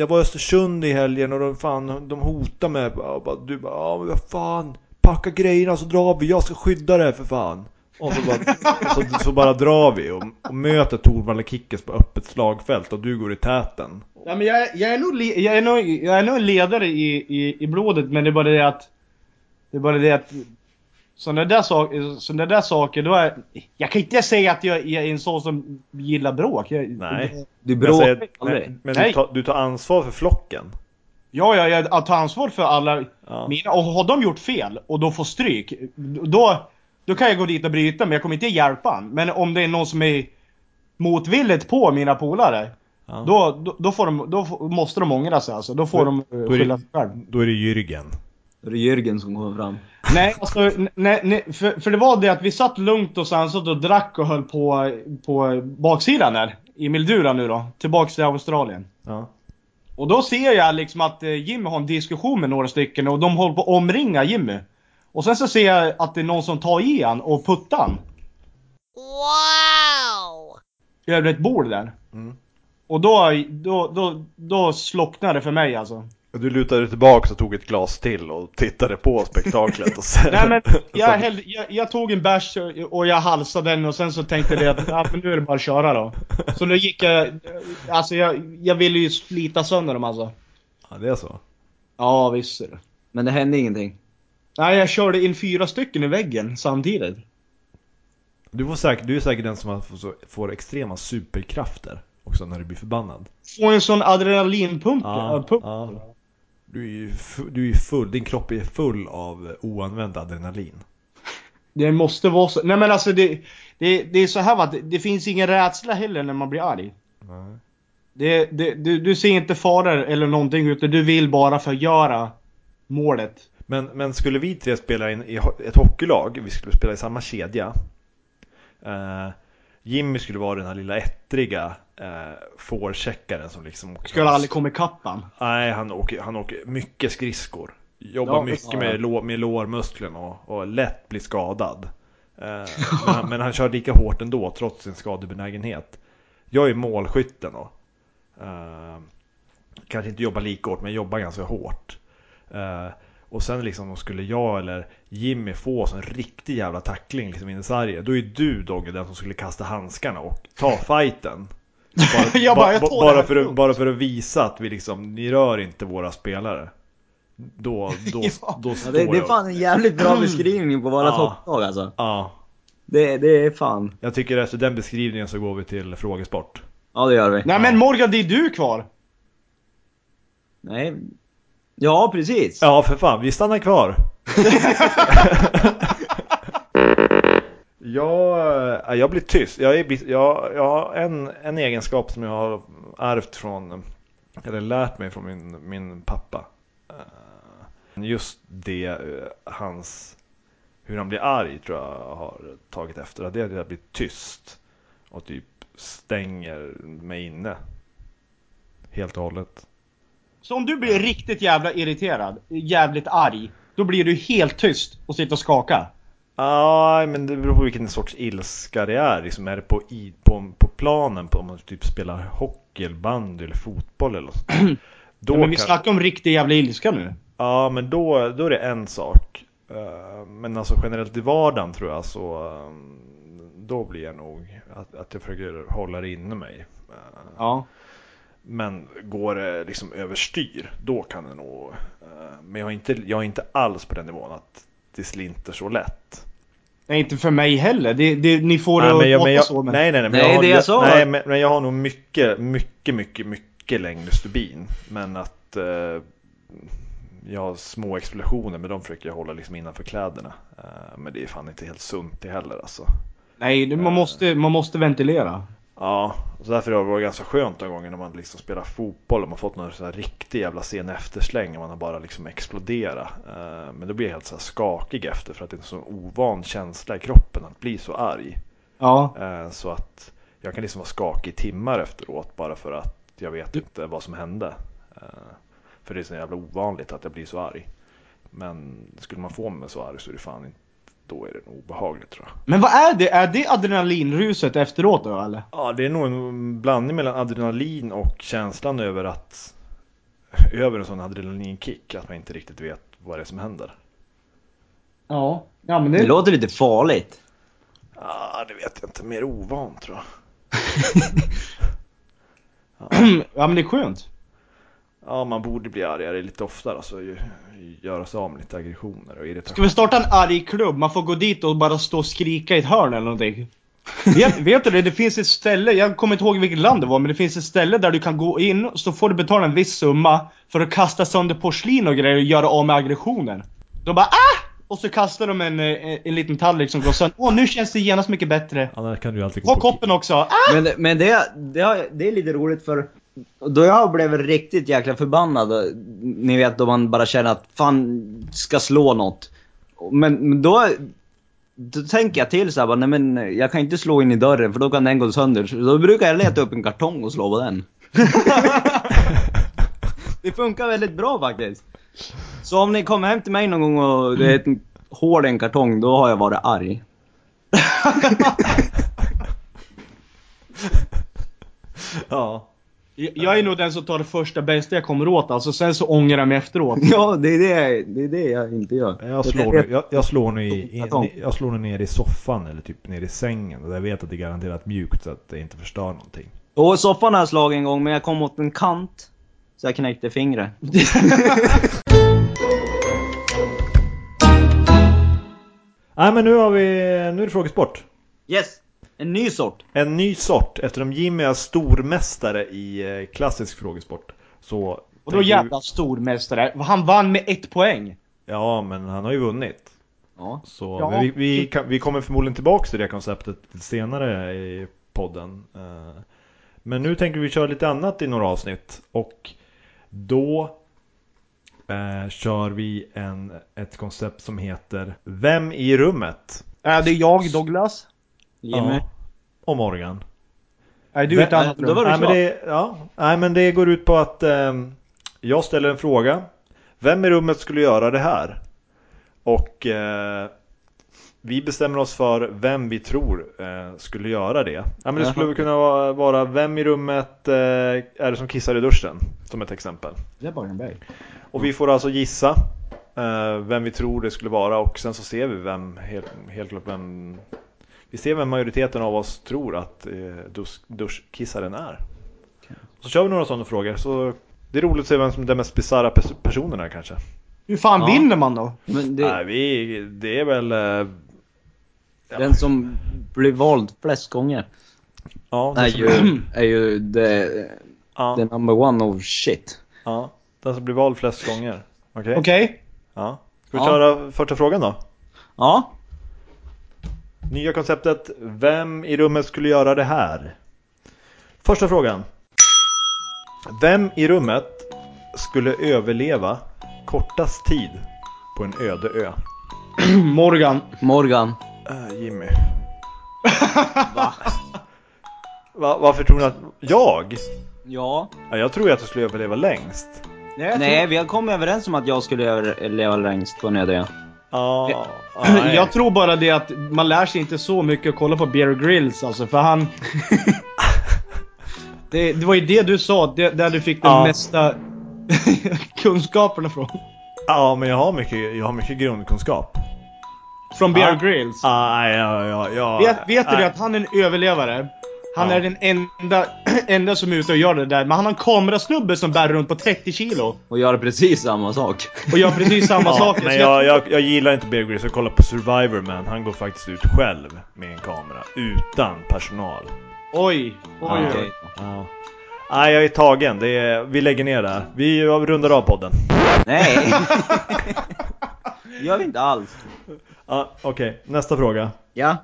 Speaker 3: jag var i Östersund i helgen och de fan, de hotade mig. Och bara, du bara, ja men vad fan. Packa grejerna så drar vi, jag ska skydda dig för fan. Och så bara, så, så bara drar vi och, och möter Torvalla Kickers på öppet slagfält och du går i täten.
Speaker 1: Ja, men jag, är- jag, är nog, le- jag, är nog, jag är nog en ledare i, i, i blodet, men det är bara det att... Det är bara det att... Sådana där, sak, såna där saker, då är... Jag kan inte säga att jag, jag är en sån som gillar bråk. Jag,
Speaker 3: Nej.
Speaker 2: du
Speaker 3: Men, jag
Speaker 2: bråkar
Speaker 3: säger,
Speaker 2: aldrig.
Speaker 3: men, men du,
Speaker 1: Nej.
Speaker 3: tar, du tar ansvar för flocken.
Speaker 1: Ja, ja, jag jag tar ansvar för alla
Speaker 3: Ja.
Speaker 1: mina. Och har de gjort fel och då får stryk, då, då kan jag gå dit och bryta men jag kommer inte hjälpa han. Men om det är någon som är motvilligt på mina polare,
Speaker 3: Ja.
Speaker 1: då, då, då, får de, då får- måste de ångra sig alltså. Då får de eh,
Speaker 3: Då är
Speaker 1: skylla
Speaker 3: det,
Speaker 1: sig själva.
Speaker 3: då är det Jürgen.
Speaker 2: Då är det Jörgen som kommer fram.
Speaker 1: Nej, alltså, n- nej, nej, för, för det var det att vi satt lugnt och sansat och drack och höll på på baksidan där. I Mildura nu då, tillbaks till Australien.
Speaker 3: Ja.
Speaker 1: Och då ser jag liksom att eh, Jimmy har en diskussion med några stycken och de håller på att omringa Jimmy. Och sen så ser jag att det är någon som tar i han och puttar han
Speaker 5: Wow!
Speaker 1: över ett bord där.
Speaker 3: Mm.
Speaker 1: Och då, då, då, då slocknade det för mig alltså.
Speaker 3: Du lutade dig tillbaka och tog ett glas till och tittade på spektaklet och sen...
Speaker 1: Nej men jag,
Speaker 3: sen-
Speaker 1: hällde, jag, jag tog en bärs och- och jag halsade den och sen så tänkte jag att ja, men nu är det bara att köra då. Så nu gick jag, alltså jag, jag ville ju slita sönder dem alltså.
Speaker 3: Ja, det är så.
Speaker 1: Ja visst är det.
Speaker 2: Men det hände ingenting.
Speaker 1: Nej jag körde in fyra stycken i väggen samtidigt.
Speaker 3: Du, får säkert, du är säkert den som har- får, så- får extrema superkrafter också när du blir förbannad.
Speaker 1: Få en sån adrenalinpump.
Speaker 3: Ja,
Speaker 1: Ja, pump.
Speaker 3: ja. Du är ju fu- du är ju full, din kropp är full av oanvänd adrenalin.
Speaker 1: Det måste vara så. Nej men alltså det, det, det är så här va, det, det finns ingen rädsla heller när man blir arg.
Speaker 3: Nej.
Speaker 1: Det, det, du, du ser inte faror eller någonting utan du vill bara förgöra målet.
Speaker 3: Men, men skulle vi tre spela in i ho- ett hockeylag, vi skulle spela i samma kedja. Eh, Jimmy skulle vara den här lilla ettriga eh, forecheckaren som liksom...
Speaker 1: Skulle aldrig komma ikapp han.
Speaker 3: Nej, han åker, han åker mycket skridskor. Jobbar
Speaker 1: Ja,
Speaker 3: mycket
Speaker 2: ja.
Speaker 3: med, lå, med lårmusklerna och, och lätt blir skadad. Eh, men, han, men han kör lika hårt ändå trots sin skadebenägenhet. Jag är målskytten då. Eh, kanske inte jobbar lika hårt men jobbar ganska hårt. Eh, och sen liksom om skulle jag eller Jimmy få en riktig jävla tackling liksom in i sargen. Då är du Dogge den som skulle kasta handskarna och ta fighten. Bara,
Speaker 1: Jag bara,
Speaker 3: ba-
Speaker 1: jag
Speaker 3: ba-
Speaker 1: tar det
Speaker 3: bara,
Speaker 1: här
Speaker 3: för att,
Speaker 1: lugnt.
Speaker 3: bara för att visa att vi liksom, ni rör inte våra spelare. Då, då,
Speaker 1: Ja.
Speaker 3: då
Speaker 2: Ja,
Speaker 3: står
Speaker 2: det, det är
Speaker 3: jag.
Speaker 2: fan en jävligt bra beskrivning på våra
Speaker 3: Ja.
Speaker 2: topplag alltså.
Speaker 3: Ja.
Speaker 2: Det, det är fan.
Speaker 3: Jag tycker efter den beskrivningen så går vi till frågesport.
Speaker 2: Ja, det gör vi.
Speaker 1: Nej men Morgan, det är du kvar!
Speaker 2: Nej. Ja, precis.
Speaker 3: Ja, för fan, vi stannar kvar. jag, eh, jag blir tyst. Jag, är, bli- jag, jag har en, en egenskap som jag har ärvt från, eller lärt mig från min, min pappa. Eh, Just det, eh, hans, hur han blir arg tror jag har tagit efter. Att Det är att jag blir tyst och typ stänger mig inne. Helt och hållet.
Speaker 1: Så om du blir riktigt jävla irriterad, jävligt arg, då blir du helt tyst och sitter och skakar.
Speaker 3: Nej, men det beror på vilken sorts ilska det är. Liksom, är det på, i, på, på planen, på, om man typ spelar hockey, eller bandy eller fotboll eller något sånt där. Då
Speaker 1: Ja, men vi
Speaker 3: kan-
Speaker 1: snackar om riktig jävla ilska nu.
Speaker 3: Ja, men då, då är det en sak. Eh, Men alltså generellt i vardagen tror jag så eh, då blir jag nog att, att jag försöker hålla det inne mig. Eh,
Speaker 1: Ja.
Speaker 3: Men går det liksom överstyr, då kan det nog... eh, Men jag är inte, jag är inte alls på den nivån att det slinter så lätt.
Speaker 1: Nej inte för mig heller, det, det, ni får det
Speaker 3: Nej, men
Speaker 1: att
Speaker 3: jag,
Speaker 1: låta
Speaker 3: men jag,
Speaker 1: så men...
Speaker 3: nej, nej, nej, men
Speaker 2: Nej,
Speaker 3: jag har,
Speaker 2: det jag sa
Speaker 3: nej,
Speaker 2: var-
Speaker 3: men, men jag har nog mycket, mycket, mycket, mycket längre stubin. Men att eh, jag har små explosioner, men de försöker jag hålla liksom innanför kläderna. Eh, men det är fan inte helt sunt det heller alltså.
Speaker 1: Nej, det- man, måste, man måste ventilera.
Speaker 3: Ja, så därför har det varit ganska skönt de gånger när man liksom spelar fotboll och man fått någon sån här riktig jävla sen eftersläng och man har bara liksom exploderat. Eh, men då blir jag helt så här skakig efter för att det är en sån ovan känsla i kroppen att bli så arg.
Speaker 1: Ja.
Speaker 3: Eh, Så att jag kan liksom vara skakig i timmar efteråt bara för att jag vet inte vad som hände. Eh, För det är så jävla ovanligt att jag blir så arg. Men skulle man få mig så arg så är det fan inte, då är det nog obehagligt tror jag.
Speaker 1: Men vad är det? Är det adrenalinruset efteråt då eller?
Speaker 3: Ja, det är nog en blandning mellan adrenalin och känslan över att över en sån adrenalinkick att man inte riktigt vet vad det är som händer.
Speaker 1: Ja. Ja men
Speaker 2: Det
Speaker 1: det...
Speaker 2: låter lite farligt.
Speaker 3: Ah, det vet jag inte, mer ovan tror jag.
Speaker 1: ja men det är skönt.
Speaker 3: Ja, man borde bli argare lite oftare, alltså ju- göra sig av med lite aggressioner och irritationer.
Speaker 1: Ska vi starta en arg klubb? Man får gå dit och bara stå och skrika i ett hörn eller någonting. vet, vet du det? Det finns ett ställe, jag kommer inte ihåg vilket land det var, men det finns ett ställe där du kan gå in, så får du betala en viss summa för att kasta sönder porslin och grejer och göra av med aggressionen. De bara ah! Och så kastar de en, eh, en liten tallrik som går sönder. Åh, nu känns det genast mycket bättre.
Speaker 3: Annars kan du alltid
Speaker 1: Ta koppen också! Ah!
Speaker 2: Men, men det, det, har- det är lite roligt för då jag blev riktigt jäkla förbannad, ni vet då man bara känner att fan ska slå något. Men, men då, då tänker jag till så här, bara, nej men jag kan inte slå in i dörren för då kan den gå sönder. Så då brukar jag leta upp en kartong och slå på den. det funkar väldigt bra faktiskt. Så om ni kommer hem till mig någon gång och det är ett hål i en kartong, då har jag varit arg.
Speaker 3: Ja.
Speaker 1: Jag- Jag är nog den som tar det första bästa jag kommer åt alltså, sen så ångrar jag mig efteråt.
Speaker 2: Ja, det är det, det, är det jag inte gör.
Speaker 3: Jag slår, nu, jag, jag, slår nu i,
Speaker 2: Kartong.
Speaker 3: i, jag slår nu ner i soffan eller typ ner i sängen. Och jag vet att det är garanterat mjukt så att det inte förstör någonting.
Speaker 2: Jo, soffan har jag slagit en gång, men jag kom åt en kant. Så jag knäckte fingret.
Speaker 3: Nej men nu har vi, nu är det frågesport.
Speaker 2: Yes! En ny sort.
Speaker 3: En ny sort. Eftersom Jimmy är stormästare i eh, klassisk frågesport. Så...
Speaker 1: Och då
Speaker 3: tänker vi-
Speaker 1: jävla stormästare. Han vann med ett poäng.
Speaker 3: Ja men han har ju vunnit.
Speaker 2: Ja.
Speaker 3: Så
Speaker 1: Ja.
Speaker 3: men vi, vi, kan, vi kommer förmodligen tillbaka till det konceptet senare i podden. Eh, Men nu tänker vi köra lite annat i några avsnitt. Och då eh, kör vi en, ett koncept som heter Vem i rummet?
Speaker 1: Äh, det är jag Douglas.
Speaker 2: Jimmy.
Speaker 3: Ja. Och Morgan.
Speaker 1: Nej du
Speaker 3: Vä-
Speaker 1: är ett annat
Speaker 2: äh, då var
Speaker 1: rum.
Speaker 2: det
Speaker 3: Nej men
Speaker 2: klart.
Speaker 3: det, ja, nej men det går ut på att ehm, jag ställer en fråga. Vem i rummet skulle göra det här? Och eh, vi bestämmer oss för vem vi tror eh, skulle göra det. Ja, men det
Speaker 2: Jaha.
Speaker 3: skulle kunna vara, vara vem i rummet eh, är det som kissar i duschen? Som ett exempel.
Speaker 1: Det var en väg.
Speaker 3: Och vi får alltså gissa eh, vem vi tror det skulle vara och sen så ser vi vem, helt, helt klart vem Vi ser vem majoriteten av oss tror att eh, dus, duschkissaren är. Så kör vi några sådana frågor så det är roligt att se vem som den mest bisarra pers- personen är kanske.
Speaker 1: Hur fan
Speaker 2: Ja.
Speaker 1: vinner man då?
Speaker 2: Men
Speaker 3: Nej,
Speaker 2: det,
Speaker 3: vi, det är väl eh,
Speaker 2: Den som blir vald flest gånger
Speaker 3: Ja,
Speaker 2: är
Speaker 3: den som,
Speaker 2: ju, är ju the, the
Speaker 3: ja,
Speaker 2: number one of shit.
Speaker 3: ja, den som blir vald flest gånger. Okej?
Speaker 1: Okej?
Speaker 3: Ja. Ska vi
Speaker 2: Ja.
Speaker 3: köra första frågan då?
Speaker 2: Ja,
Speaker 3: Nya konceptet, vem i rummet skulle göra det här? Första frågan. Vem i rummet skulle överleva kortast tid på en öde ö?
Speaker 1: Morgan.
Speaker 2: Morgan.
Speaker 3: Äh, Jimmy. Va, varför tror ni att... Jag?
Speaker 2: Ja.
Speaker 3: Ja, jag tror ju att du skulle överleva längst.
Speaker 1: Nej, jag
Speaker 2: Nej,
Speaker 1: tror-
Speaker 2: vi har kommit överens om att jag skulle över- leva längst på en öde ö.
Speaker 3: Ja, nej.
Speaker 1: Jag tror bara det att man lär sig inte så mycket att kolla på Bear Grylls alltså, för han... det, det var ju det du sa, det, där du fick den
Speaker 3: Ja.
Speaker 1: mesta kunskaperna från.
Speaker 3: ja, men jag har mycket, jag har mycket grundkunskap.
Speaker 1: Från Bear
Speaker 3: Ja.
Speaker 1: Grylls.
Speaker 3: Ah, nej, ja, ja, ja,
Speaker 1: Vet, vet du
Speaker 3: nej.
Speaker 1: det att han är en överlevare? Han
Speaker 3: Ja.
Speaker 1: är den enda, enda som är ute och gör det där. Men han har en kamerasnubbe som bär runt på 30 kilo
Speaker 2: Och göra precis samma sak.
Speaker 1: och gör precis samma
Speaker 3: Ja,
Speaker 1: saker.
Speaker 3: men
Speaker 1: så
Speaker 3: jag, jag, jag gillar inte Bear Grylls, jag kollar på Survivor men han går faktiskt ut själv med en kamera utan personal.
Speaker 1: Oj, oj,
Speaker 2: Okej.
Speaker 1: oj.
Speaker 3: Ja. Nej, jag är tagen. Det är, vi lägger ner det här. Vi rundar av podden.
Speaker 2: Nej! gör vi inte alls.
Speaker 3: Ja, Okej, nästa fråga.
Speaker 2: Ja.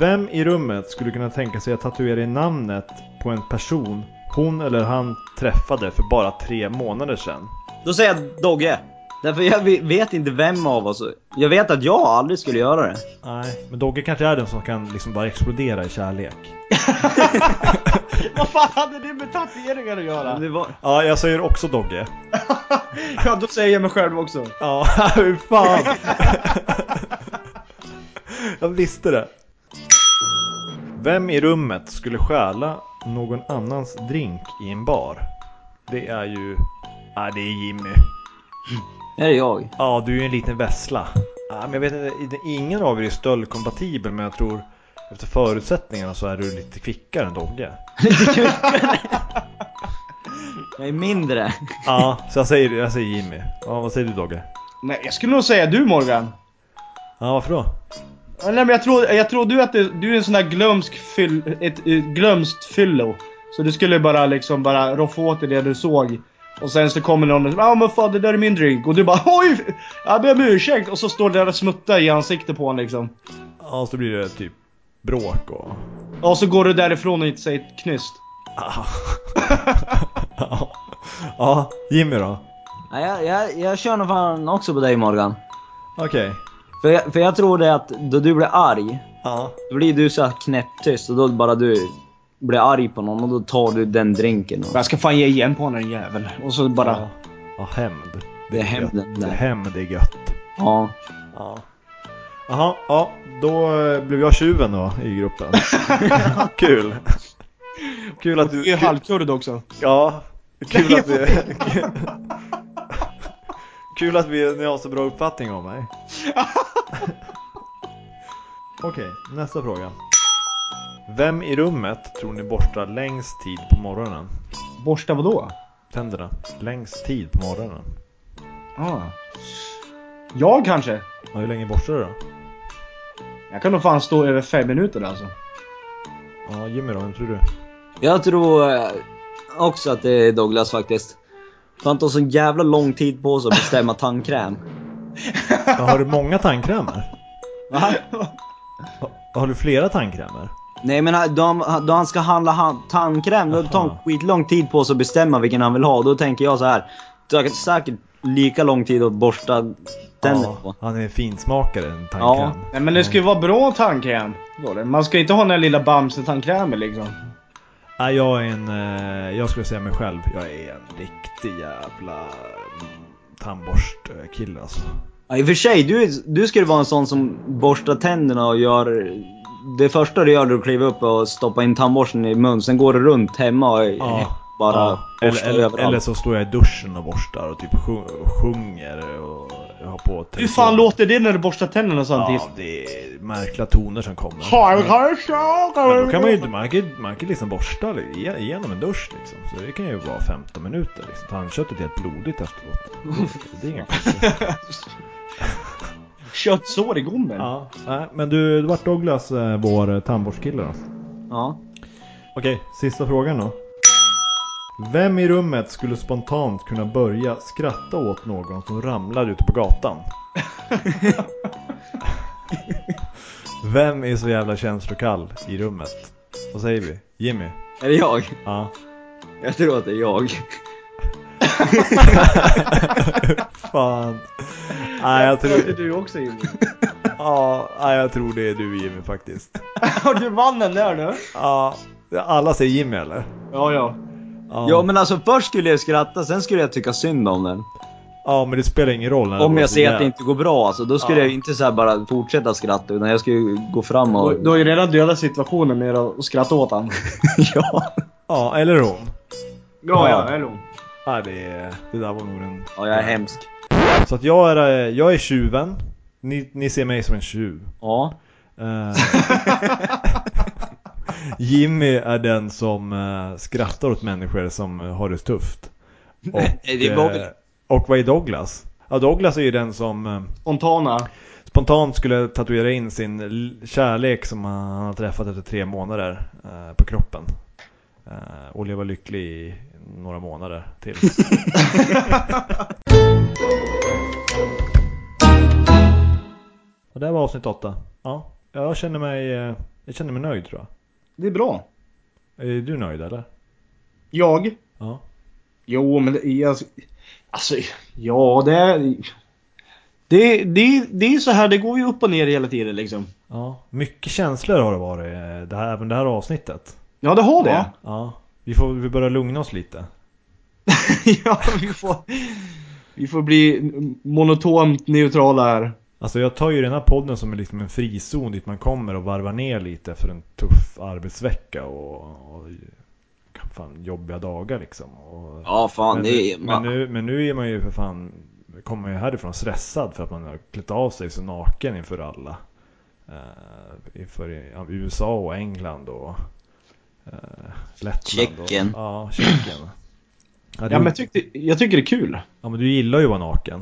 Speaker 3: Vem i rummet skulle kunna tänka sig att tatuera i namnet på en person hon eller han träffade för bara tre månader sedan?
Speaker 2: Då säger jag Dogge. Därför jag ve- vet inte vem av oss. Jag vet att jag aldrig skulle göra det.
Speaker 3: Nej, men Dogge kanske är den som kan liksom bara explodera i kärlek.
Speaker 1: Vad fan hade det med tatueringar att göra?
Speaker 2: det var...
Speaker 3: Ja, jag säger också Dogge.
Speaker 1: Ja, då säger jag mig själv också.
Speaker 3: Ja, hur fan! jag visste det. Vem i rummet skulle stjäla någon annans drink i en bar? Det är ju... Ja, det är Jimmy.
Speaker 2: Är det jag?
Speaker 3: Ja, du är ju en liten vessla. Ja, men jag vet inte, ingen av er är stöldkompatibel, men jag tror efter förutsättningarna så är du lite kvickare än Dogge.
Speaker 2: Jag är mindre.
Speaker 3: Ja, så jag säger, jag säger Jimmy. Ja, vad säger du Dogge?
Speaker 1: Nej, jag skulle nog säga du Morgan.
Speaker 3: Ja, varför då?
Speaker 1: Ja, Nej, men jag tror, jag tror du att du, du är en sån där glömsk fyll, ett, eh, glömskt fyllo. Så du skulle bara liksom bara roffa åt dig det du såg. Och sen så kommer någon och säger ah, men fan det där är min drink. Och du bara oj! Jag ber om ursäkt! Och så står det där och smuttar i ansiktet på honom liksom.
Speaker 3: Ja, så blir det typ bråk och...
Speaker 1: Och så går du därifrån och inte säger ett knyst.
Speaker 3: Ja. ja, Jimmy då?
Speaker 2: Nej, jag, jag, jag kör nog fan också på dig Morgan.
Speaker 3: Okej.
Speaker 2: För jag, för jag tror det att då du blir arg,
Speaker 3: Ja.
Speaker 2: då blir du så här knäpptyst och då bara du blir arg på någon och då tar du den drinken. Och...
Speaker 1: Jag ska fan ge igen på honom den jäveln. Och så bara...
Speaker 3: Ja, ja hämnd.
Speaker 2: Det är hämnden
Speaker 3: gött.
Speaker 2: där.
Speaker 3: Hämnd är gött.
Speaker 2: Ja.
Speaker 3: Ja. Jaha, ja, då eh, blev jag tjuven då i gruppen. Kul. Kul att du...
Speaker 1: Du är
Speaker 3: kul-
Speaker 1: halvkurd också.
Speaker 3: Ja, kul att vi... Kul att vi, ni har så bra uppfattning om mig. Okej, nästa fråga. Vem i rummet tror ni borstar längst tid på morgonen?
Speaker 1: Borsta vadå?
Speaker 3: Tänderna. Längst tid på morgonen.
Speaker 1: Ah. Jag kanske?
Speaker 3: Ja, hur länge borstar du då?
Speaker 1: Jag kan nog fan stå över fem minuter alltså.
Speaker 3: Ja, Jimmy då, vem tror du?
Speaker 2: Jag tror eh, också att det är Douglas faktiskt. För han tar så jävla lång tid på sig att bestämma tandkräm.
Speaker 3: Ja, har du många tandkrämer?
Speaker 2: Va?
Speaker 3: Ha- Har du flera tandkrämer?
Speaker 2: Nej men han- då han, då han ska handla han, tandkräm, då tar han
Speaker 3: Jaha.
Speaker 2: skitlång tid på sig att bestämma vilken han vill ha. Då tänker jag så här. Det tar säkert lika lång tid att borsta tänderna på.
Speaker 3: Ja, han är finsmakare, en
Speaker 2: Ja,
Speaker 3: tandkräm.
Speaker 1: Nej men det ska ju vara bra tandkräm. Då det. Man ska inte ha den här lilla bamsetandkrämen liksom.
Speaker 3: Ja, jag är en, eh, jag skulle säga mig själv, jag är en riktig jävla mm, tandborstkille alltså.
Speaker 2: Ja, I och för sig, du, du skulle vara en sån som borstar tänderna och gör... Det första du gör är att kliva upp och stoppa in tandborsten i mun, sen går du runt hemma och
Speaker 3: Ja,
Speaker 2: bara
Speaker 3: ja.
Speaker 2: borstar
Speaker 3: Eller, eller,
Speaker 2: överallt.
Speaker 3: eller så står jag i duschen och borstar och typ sju- och sjunger och jag har på
Speaker 1: Hur fan låter det när du borstar tänderna samtidigt?
Speaker 3: Ja, det är märkliga toner som kommer. Men då kan man ju inte, man kan, ju- man kan liksom borsta li- igenom en dusch liksom. Så det kan ju vara 15 minuter liksom. Tandköttet är helt blodigt efteråt. Det är inga konstigt.
Speaker 1: köttsår i gommen.
Speaker 3: Ja, nej, men du, det vart Douglas, eh, vår eh, tandborstkille då.
Speaker 2: Ja.
Speaker 3: Okej, sista frågan då. Vem i rummet skulle spontant kunna börja skratta åt någon som ramlar ute på gatan? Vem är så jävla känslokall i rummet? Vad säger vi? Jimmy?
Speaker 2: Är det jag?
Speaker 3: Ja.
Speaker 2: Jag tror att det är jag.
Speaker 3: Fan. Nej, jag
Speaker 1: Det är
Speaker 3: tror,
Speaker 1: du också Jimmy.
Speaker 3: ja, nej, jag tror det är du Jimmy faktiskt.
Speaker 1: Har du vann den där nu?
Speaker 3: Ja, alla säger Jimmy eller?
Speaker 1: Ja, ja.
Speaker 2: Ja men alltså först skulle jag skratta, sen skulle jag tycka synd om den.
Speaker 3: ja, men det spelar ingen roll. när det
Speaker 2: Om
Speaker 3: går
Speaker 2: jag
Speaker 3: så
Speaker 2: ser att
Speaker 3: jävla-
Speaker 2: det inte går bra alltså, då skulle
Speaker 3: Ja.
Speaker 2: jag ju inte så här bara fortsätta skratta utan jag skulle ju gå fram och...
Speaker 1: Du, du har ju redan dödat situationen med att skratta åt han.
Speaker 2: ja.
Speaker 3: Ja, eller hon.
Speaker 1: Ja,
Speaker 3: ja,
Speaker 1: eller
Speaker 3: Nej, det, det där var nog den...
Speaker 2: ja, jag är hemsk.
Speaker 3: Så att jag är, eh, jag är tjuven. Ni, ni ser mig som en tjuv.
Speaker 2: Ja.
Speaker 3: Eh, Jimmy är den som eh, skrattar åt människor som eh, har det tufft. Och,
Speaker 2: Nej, det var väl-
Speaker 3: eh, och vad är Douglas? Ja, Douglas är ju den som eh,
Speaker 1: Spontana.
Speaker 3: spontant skulle tatuera in sin l- kärlek som han har träffat efter tre månader eh, på kroppen. Eh, och leva lycklig i några månader till. och det här var avsnitt åtta. Ja, jag känner mig, eh, jag känner mig nöjd tror jag.
Speaker 1: Det är bra.
Speaker 3: Är du nöjd eller?
Speaker 1: Jag?
Speaker 3: Ja.
Speaker 1: Jo, men det är- alltså, alltså ja det är... Det, det, det är så här, det går ju upp och ner hela tiden liksom.
Speaker 3: ja. Mycket känslor har det varit, eh, det här, även det här avsnittet.
Speaker 1: Ja, det har det.
Speaker 3: Ja. ja. Vi får vi börjar lugna oss lite.
Speaker 1: ja, vi får, vi får bli monotont neutrala här.
Speaker 3: Alltså jag tar ju den här podden som är liksom en frizon dit man kommer och varvar ner lite för en tuff arbetsvecka och, och fan, jobbiga dagar liksom. Och,
Speaker 2: Ja fan,
Speaker 3: men,
Speaker 2: det är...
Speaker 3: nu, men, nu, men nu är man ju för fan, kommer man ju härifrån stressad för att man har klätt av sig så naken inför alla. Eh, inför ja, USA och England och uh, Lettland.
Speaker 2: Tjeckien.
Speaker 3: Och, ja, Tjeckien. Ja, du,
Speaker 1: Ja, men jag, tyckte, jag tycker det är kul.
Speaker 3: ja men du gillar ju att vara naken.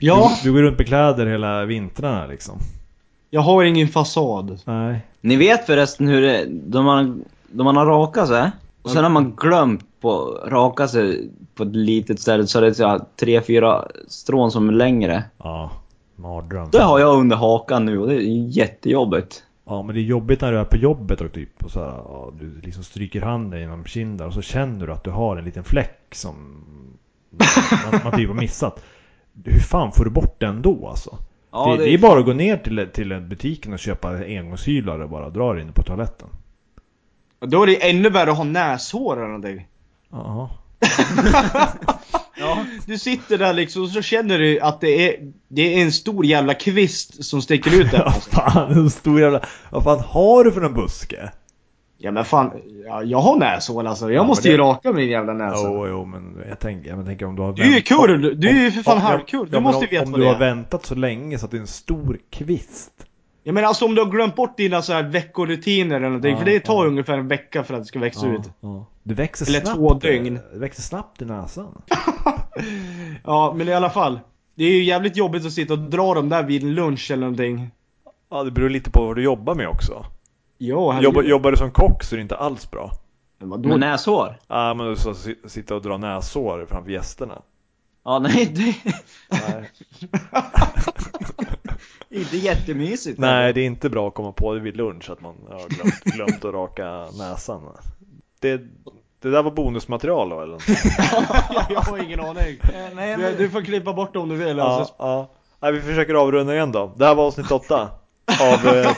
Speaker 1: Ja,
Speaker 3: Du, du går runt med kläder hela vintrarna liksom.
Speaker 1: jag har ingen fasad.
Speaker 3: Nej.
Speaker 2: Ni vet förresten hur det är, då man, då man har rakat sig och sen har man glömt på att raka sig på ett litet ställe så är det så här tre, fyra strån som är längre.
Speaker 3: Ja, mardröm.
Speaker 2: Det har jag under hakan nu och det är jättejobbigt.
Speaker 3: Ja, men det är jobbigt när du är på jobbet och typ och så här, ja, du liksom stryker handen genom kinden och så känner du att du har en liten fläck som man, man typ har missat. Hur fan får du bort den då alltså?
Speaker 2: Ja,
Speaker 3: det,
Speaker 2: det-
Speaker 3: det är bara att gå ner till, till butiken och köpa engångshylar och bara dra det inne på toaletten.
Speaker 1: Då är det ännu värre att ha näshår eller någonting.
Speaker 3: Ja,
Speaker 1: Du sitter där liksom och så känner du att det är, det är en stor jävla kvist som sticker ut där.
Speaker 3: ja
Speaker 1: Alltså.
Speaker 3: fan, en stor jävla... Vad fan har du för en buske?
Speaker 1: Ja men fan, ja, jag har näshår alltså. Jag
Speaker 3: men
Speaker 1: måste
Speaker 3: det-
Speaker 1: ju raka min jävla näsa.
Speaker 3: Jo, jo, men jag tänker, jag tänker om du har
Speaker 1: Du Alltså. är ju
Speaker 3: vänt-
Speaker 1: kurd! Du är ju för fan
Speaker 3: Ja, men-
Speaker 1: halvkurd! Du
Speaker 3: ja, men
Speaker 1: måste
Speaker 3: om-
Speaker 1: ju veta
Speaker 3: Om
Speaker 1: vad
Speaker 3: du
Speaker 1: det
Speaker 3: har
Speaker 1: är.
Speaker 3: väntat så länge så att det är en stor kvist.
Speaker 1: Jag menar alltså om du har glömt bort dina så här veckorutiner eller någonting.
Speaker 3: Ja,
Speaker 1: för det tar
Speaker 3: ja.
Speaker 1: ungefär en vecka för att det ska växa ut.
Speaker 3: Du växer
Speaker 1: Eller
Speaker 3: snabbt.
Speaker 1: två dygn.
Speaker 3: Du växer snabbt i näsan.
Speaker 1: Ja men i alla fall. Det är ju jävligt jobbigt att sitta och dra dem där vid en lunch eller någonting.
Speaker 3: Ja, det beror lite på vad du jobbar med också.
Speaker 1: Ja, herregud.
Speaker 3: Jobbar, jobbar du som kock så är det inte alls bra.
Speaker 1: Men vadå?
Speaker 2: Men näshår?
Speaker 3: Ja, men du ska si- sitta och dra näsår framför gästerna.
Speaker 2: Ja, nej det...
Speaker 3: Nej.
Speaker 2: Inte jättemysigt.
Speaker 3: Nej, det är inte bra att komma på det vid lunch att man har glömt, glömt att raka näsan. Det, det där var bonusmaterial då eller?
Speaker 1: jag har ingen aning.
Speaker 2: nej,
Speaker 1: Du, du får klippa bort det om du vill.
Speaker 3: Ja,
Speaker 1: Alltså.
Speaker 3: ja. Nej, vi försöker avrunda igen då. Det här var avsnitt åtta av, eh,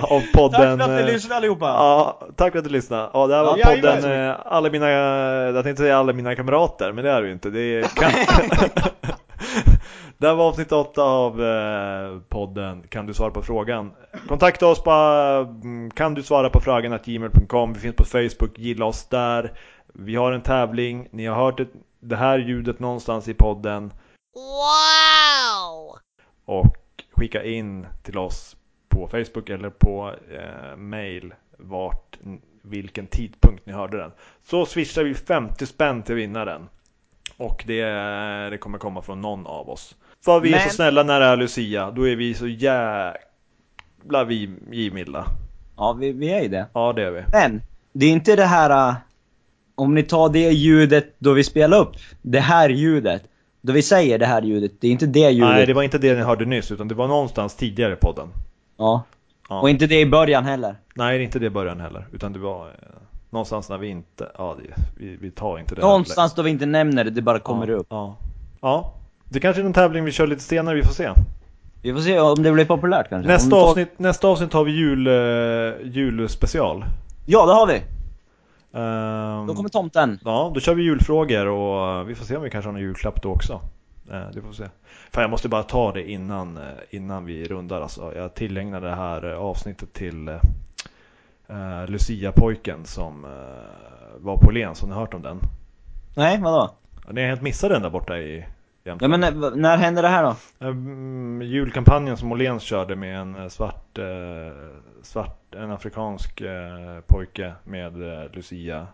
Speaker 3: av
Speaker 1: Tack
Speaker 3: podden.
Speaker 1: för att
Speaker 3: eh,
Speaker 1: ni lyssnade allihopa!
Speaker 3: Ja, tack för att du lyssnade. Ja, det här var
Speaker 1: Ja,
Speaker 3: podden
Speaker 1: jajamän.
Speaker 3: eh, Alla mina, jag tänkte säga alla mina kamrater, men det är det ju inte. Det, är, kan... det här var avsnitt 8 av eh, podden Kan du svara på frågan? Kontakta oss på mm, kan du svara på frågan att gmail.com. Vi finns på Facebook, gilla oss där. Vi har en tävling. Ni har hört det, det här ljudet någonstans i podden
Speaker 5: Wow!
Speaker 3: och skicka in till oss på Facebook eller på eh, mail vart, vilken tidpunkt ni hörde den. Så swishar vi 50 spänn till vinnaren. Och det, det kommer komma från någon av oss. För vi är
Speaker 2: Men-
Speaker 3: så snälla när det är Lucia, då är vi så jävla vi givmilda.
Speaker 2: Ja, vi, vi är ju det.
Speaker 3: Ja, det är vi.
Speaker 2: Men, det är inte det här... äh, Om ni tar det ljudet då vi spelar upp det här ljudet. Då vi säger det här ljudet, det är inte det ljudet.
Speaker 3: Nej, det var inte det ni hörde nyss, utan det var någonstans tidigare i podden.
Speaker 2: ja.
Speaker 3: Ja.
Speaker 2: Och inte det i början heller.
Speaker 3: Nej, det är inte det i början heller, utan det var eh, någonstans när vi inte... Ja, det, vi, vi tar inte det. här
Speaker 2: Någonstans då vi inte nämner det, det bara
Speaker 3: längre.
Speaker 2: kommer
Speaker 3: ja,
Speaker 2: upp.
Speaker 3: Ja. ja. Det kanske är en tävling vi kör lite senare, vi får se.
Speaker 2: Vi får se om det blir populärt kanske. om
Speaker 3: Nästa
Speaker 2: folk-
Speaker 3: avsnitt, nästa avsnitt har vi jul, eh, julspecial.
Speaker 2: Ja, det har vi!
Speaker 3: Ehm,
Speaker 2: Då kommer tomten.
Speaker 3: Ja, då kör vi julfrågor och eh, vi får se om vi kanske har någon julklapp då också. Eh, Det får vi se. Fan, jag måste bara ta det innan, eh, innan vi rundar alltså. Jag tillägnar det här eh, avsnittet till eh, eh, Lucia-pojken som eh, var på Åhléns. Har ni hört om den?
Speaker 2: Nej, vadå?
Speaker 3: Ja, Ni har helt missat den där borta i Jämtland.
Speaker 2: Ja men när, när händer det här då?
Speaker 3: Mm, julkampanjen som Åhléns körde med en eh, svart, eh, svart en afrikansk eh, pojke med eh, Lucia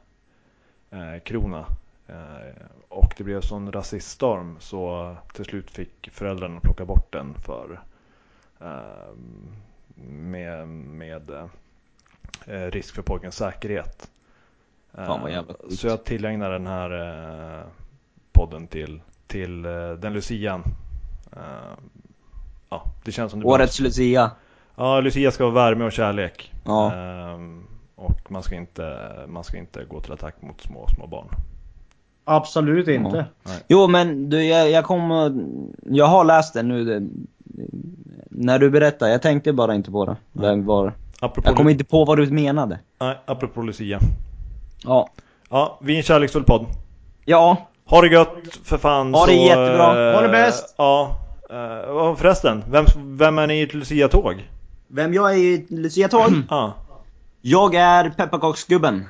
Speaker 3: eh, krona. Eh, och det blev sån rasiststorm så till slut fick föräldrarna plocka bort den för eh, med, med eh, risk för pojkens säkerhet. Eh,
Speaker 2: Fan, vad jävla sjukt.
Speaker 3: så jag tillägnar den här eh, podden till, till eh, den lucian. Eh, ja, det känns som det
Speaker 2: Årets Lucia.
Speaker 3: Ja, Lucia ska vara värme och kärlek.
Speaker 2: Ja.
Speaker 3: Ehm, och man ska, inte, man ska inte gå till attack mot små, små barn.
Speaker 1: Absolut inte.
Speaker 2: Jo men du, jag, jag kommer... Jag har läst den nu. Det, när du berättar, jag tänkte bara inte på det. Vem var...
Speaker 3: Apropå,
Speaker 2: Jag kommer inte på vad du menade.
Speaker 3: nej, apropå Lucia.
Speaker 2: Ja.
Speaker 3: Ja, vi är en kärleksfull podd.
Speaker 2: Ja.
Speaker 3: Ha det gött för fan.
Speaker 2: Ha det
Speaker 3: så,
Speaker 2: jättebra.
Speaker 3: eh,
Speaker 1: Ha det bäst.
Speaker 3: Ja. eh, och förresten, vem, vem är ni i ett Lucia-tåg?
Speaker 2: Vem jag är i Lucia Torg?
Speaker 3: Ja.
Speaker 2: Jag är pepparkaksgubben.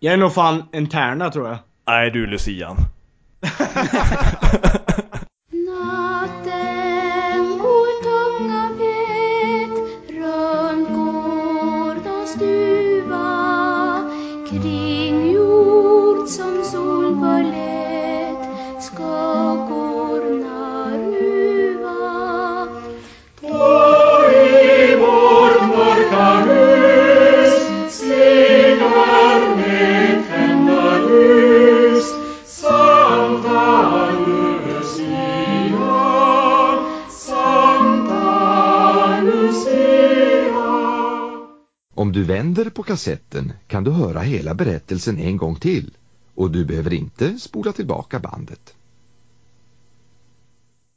Speaker 1: Jag är nog fan en tärna tror jag.
Speaker 3: Nej, du är Lucian.
Speaker 6: Natten går tunga fet runt gårdens stuva kring jord som sol förlät skuggorna ruva
Speaker 4: Om du vänder på kassetten kan du höra hela berättelsen en gång till och du behöver inte spola tillbaka bandet.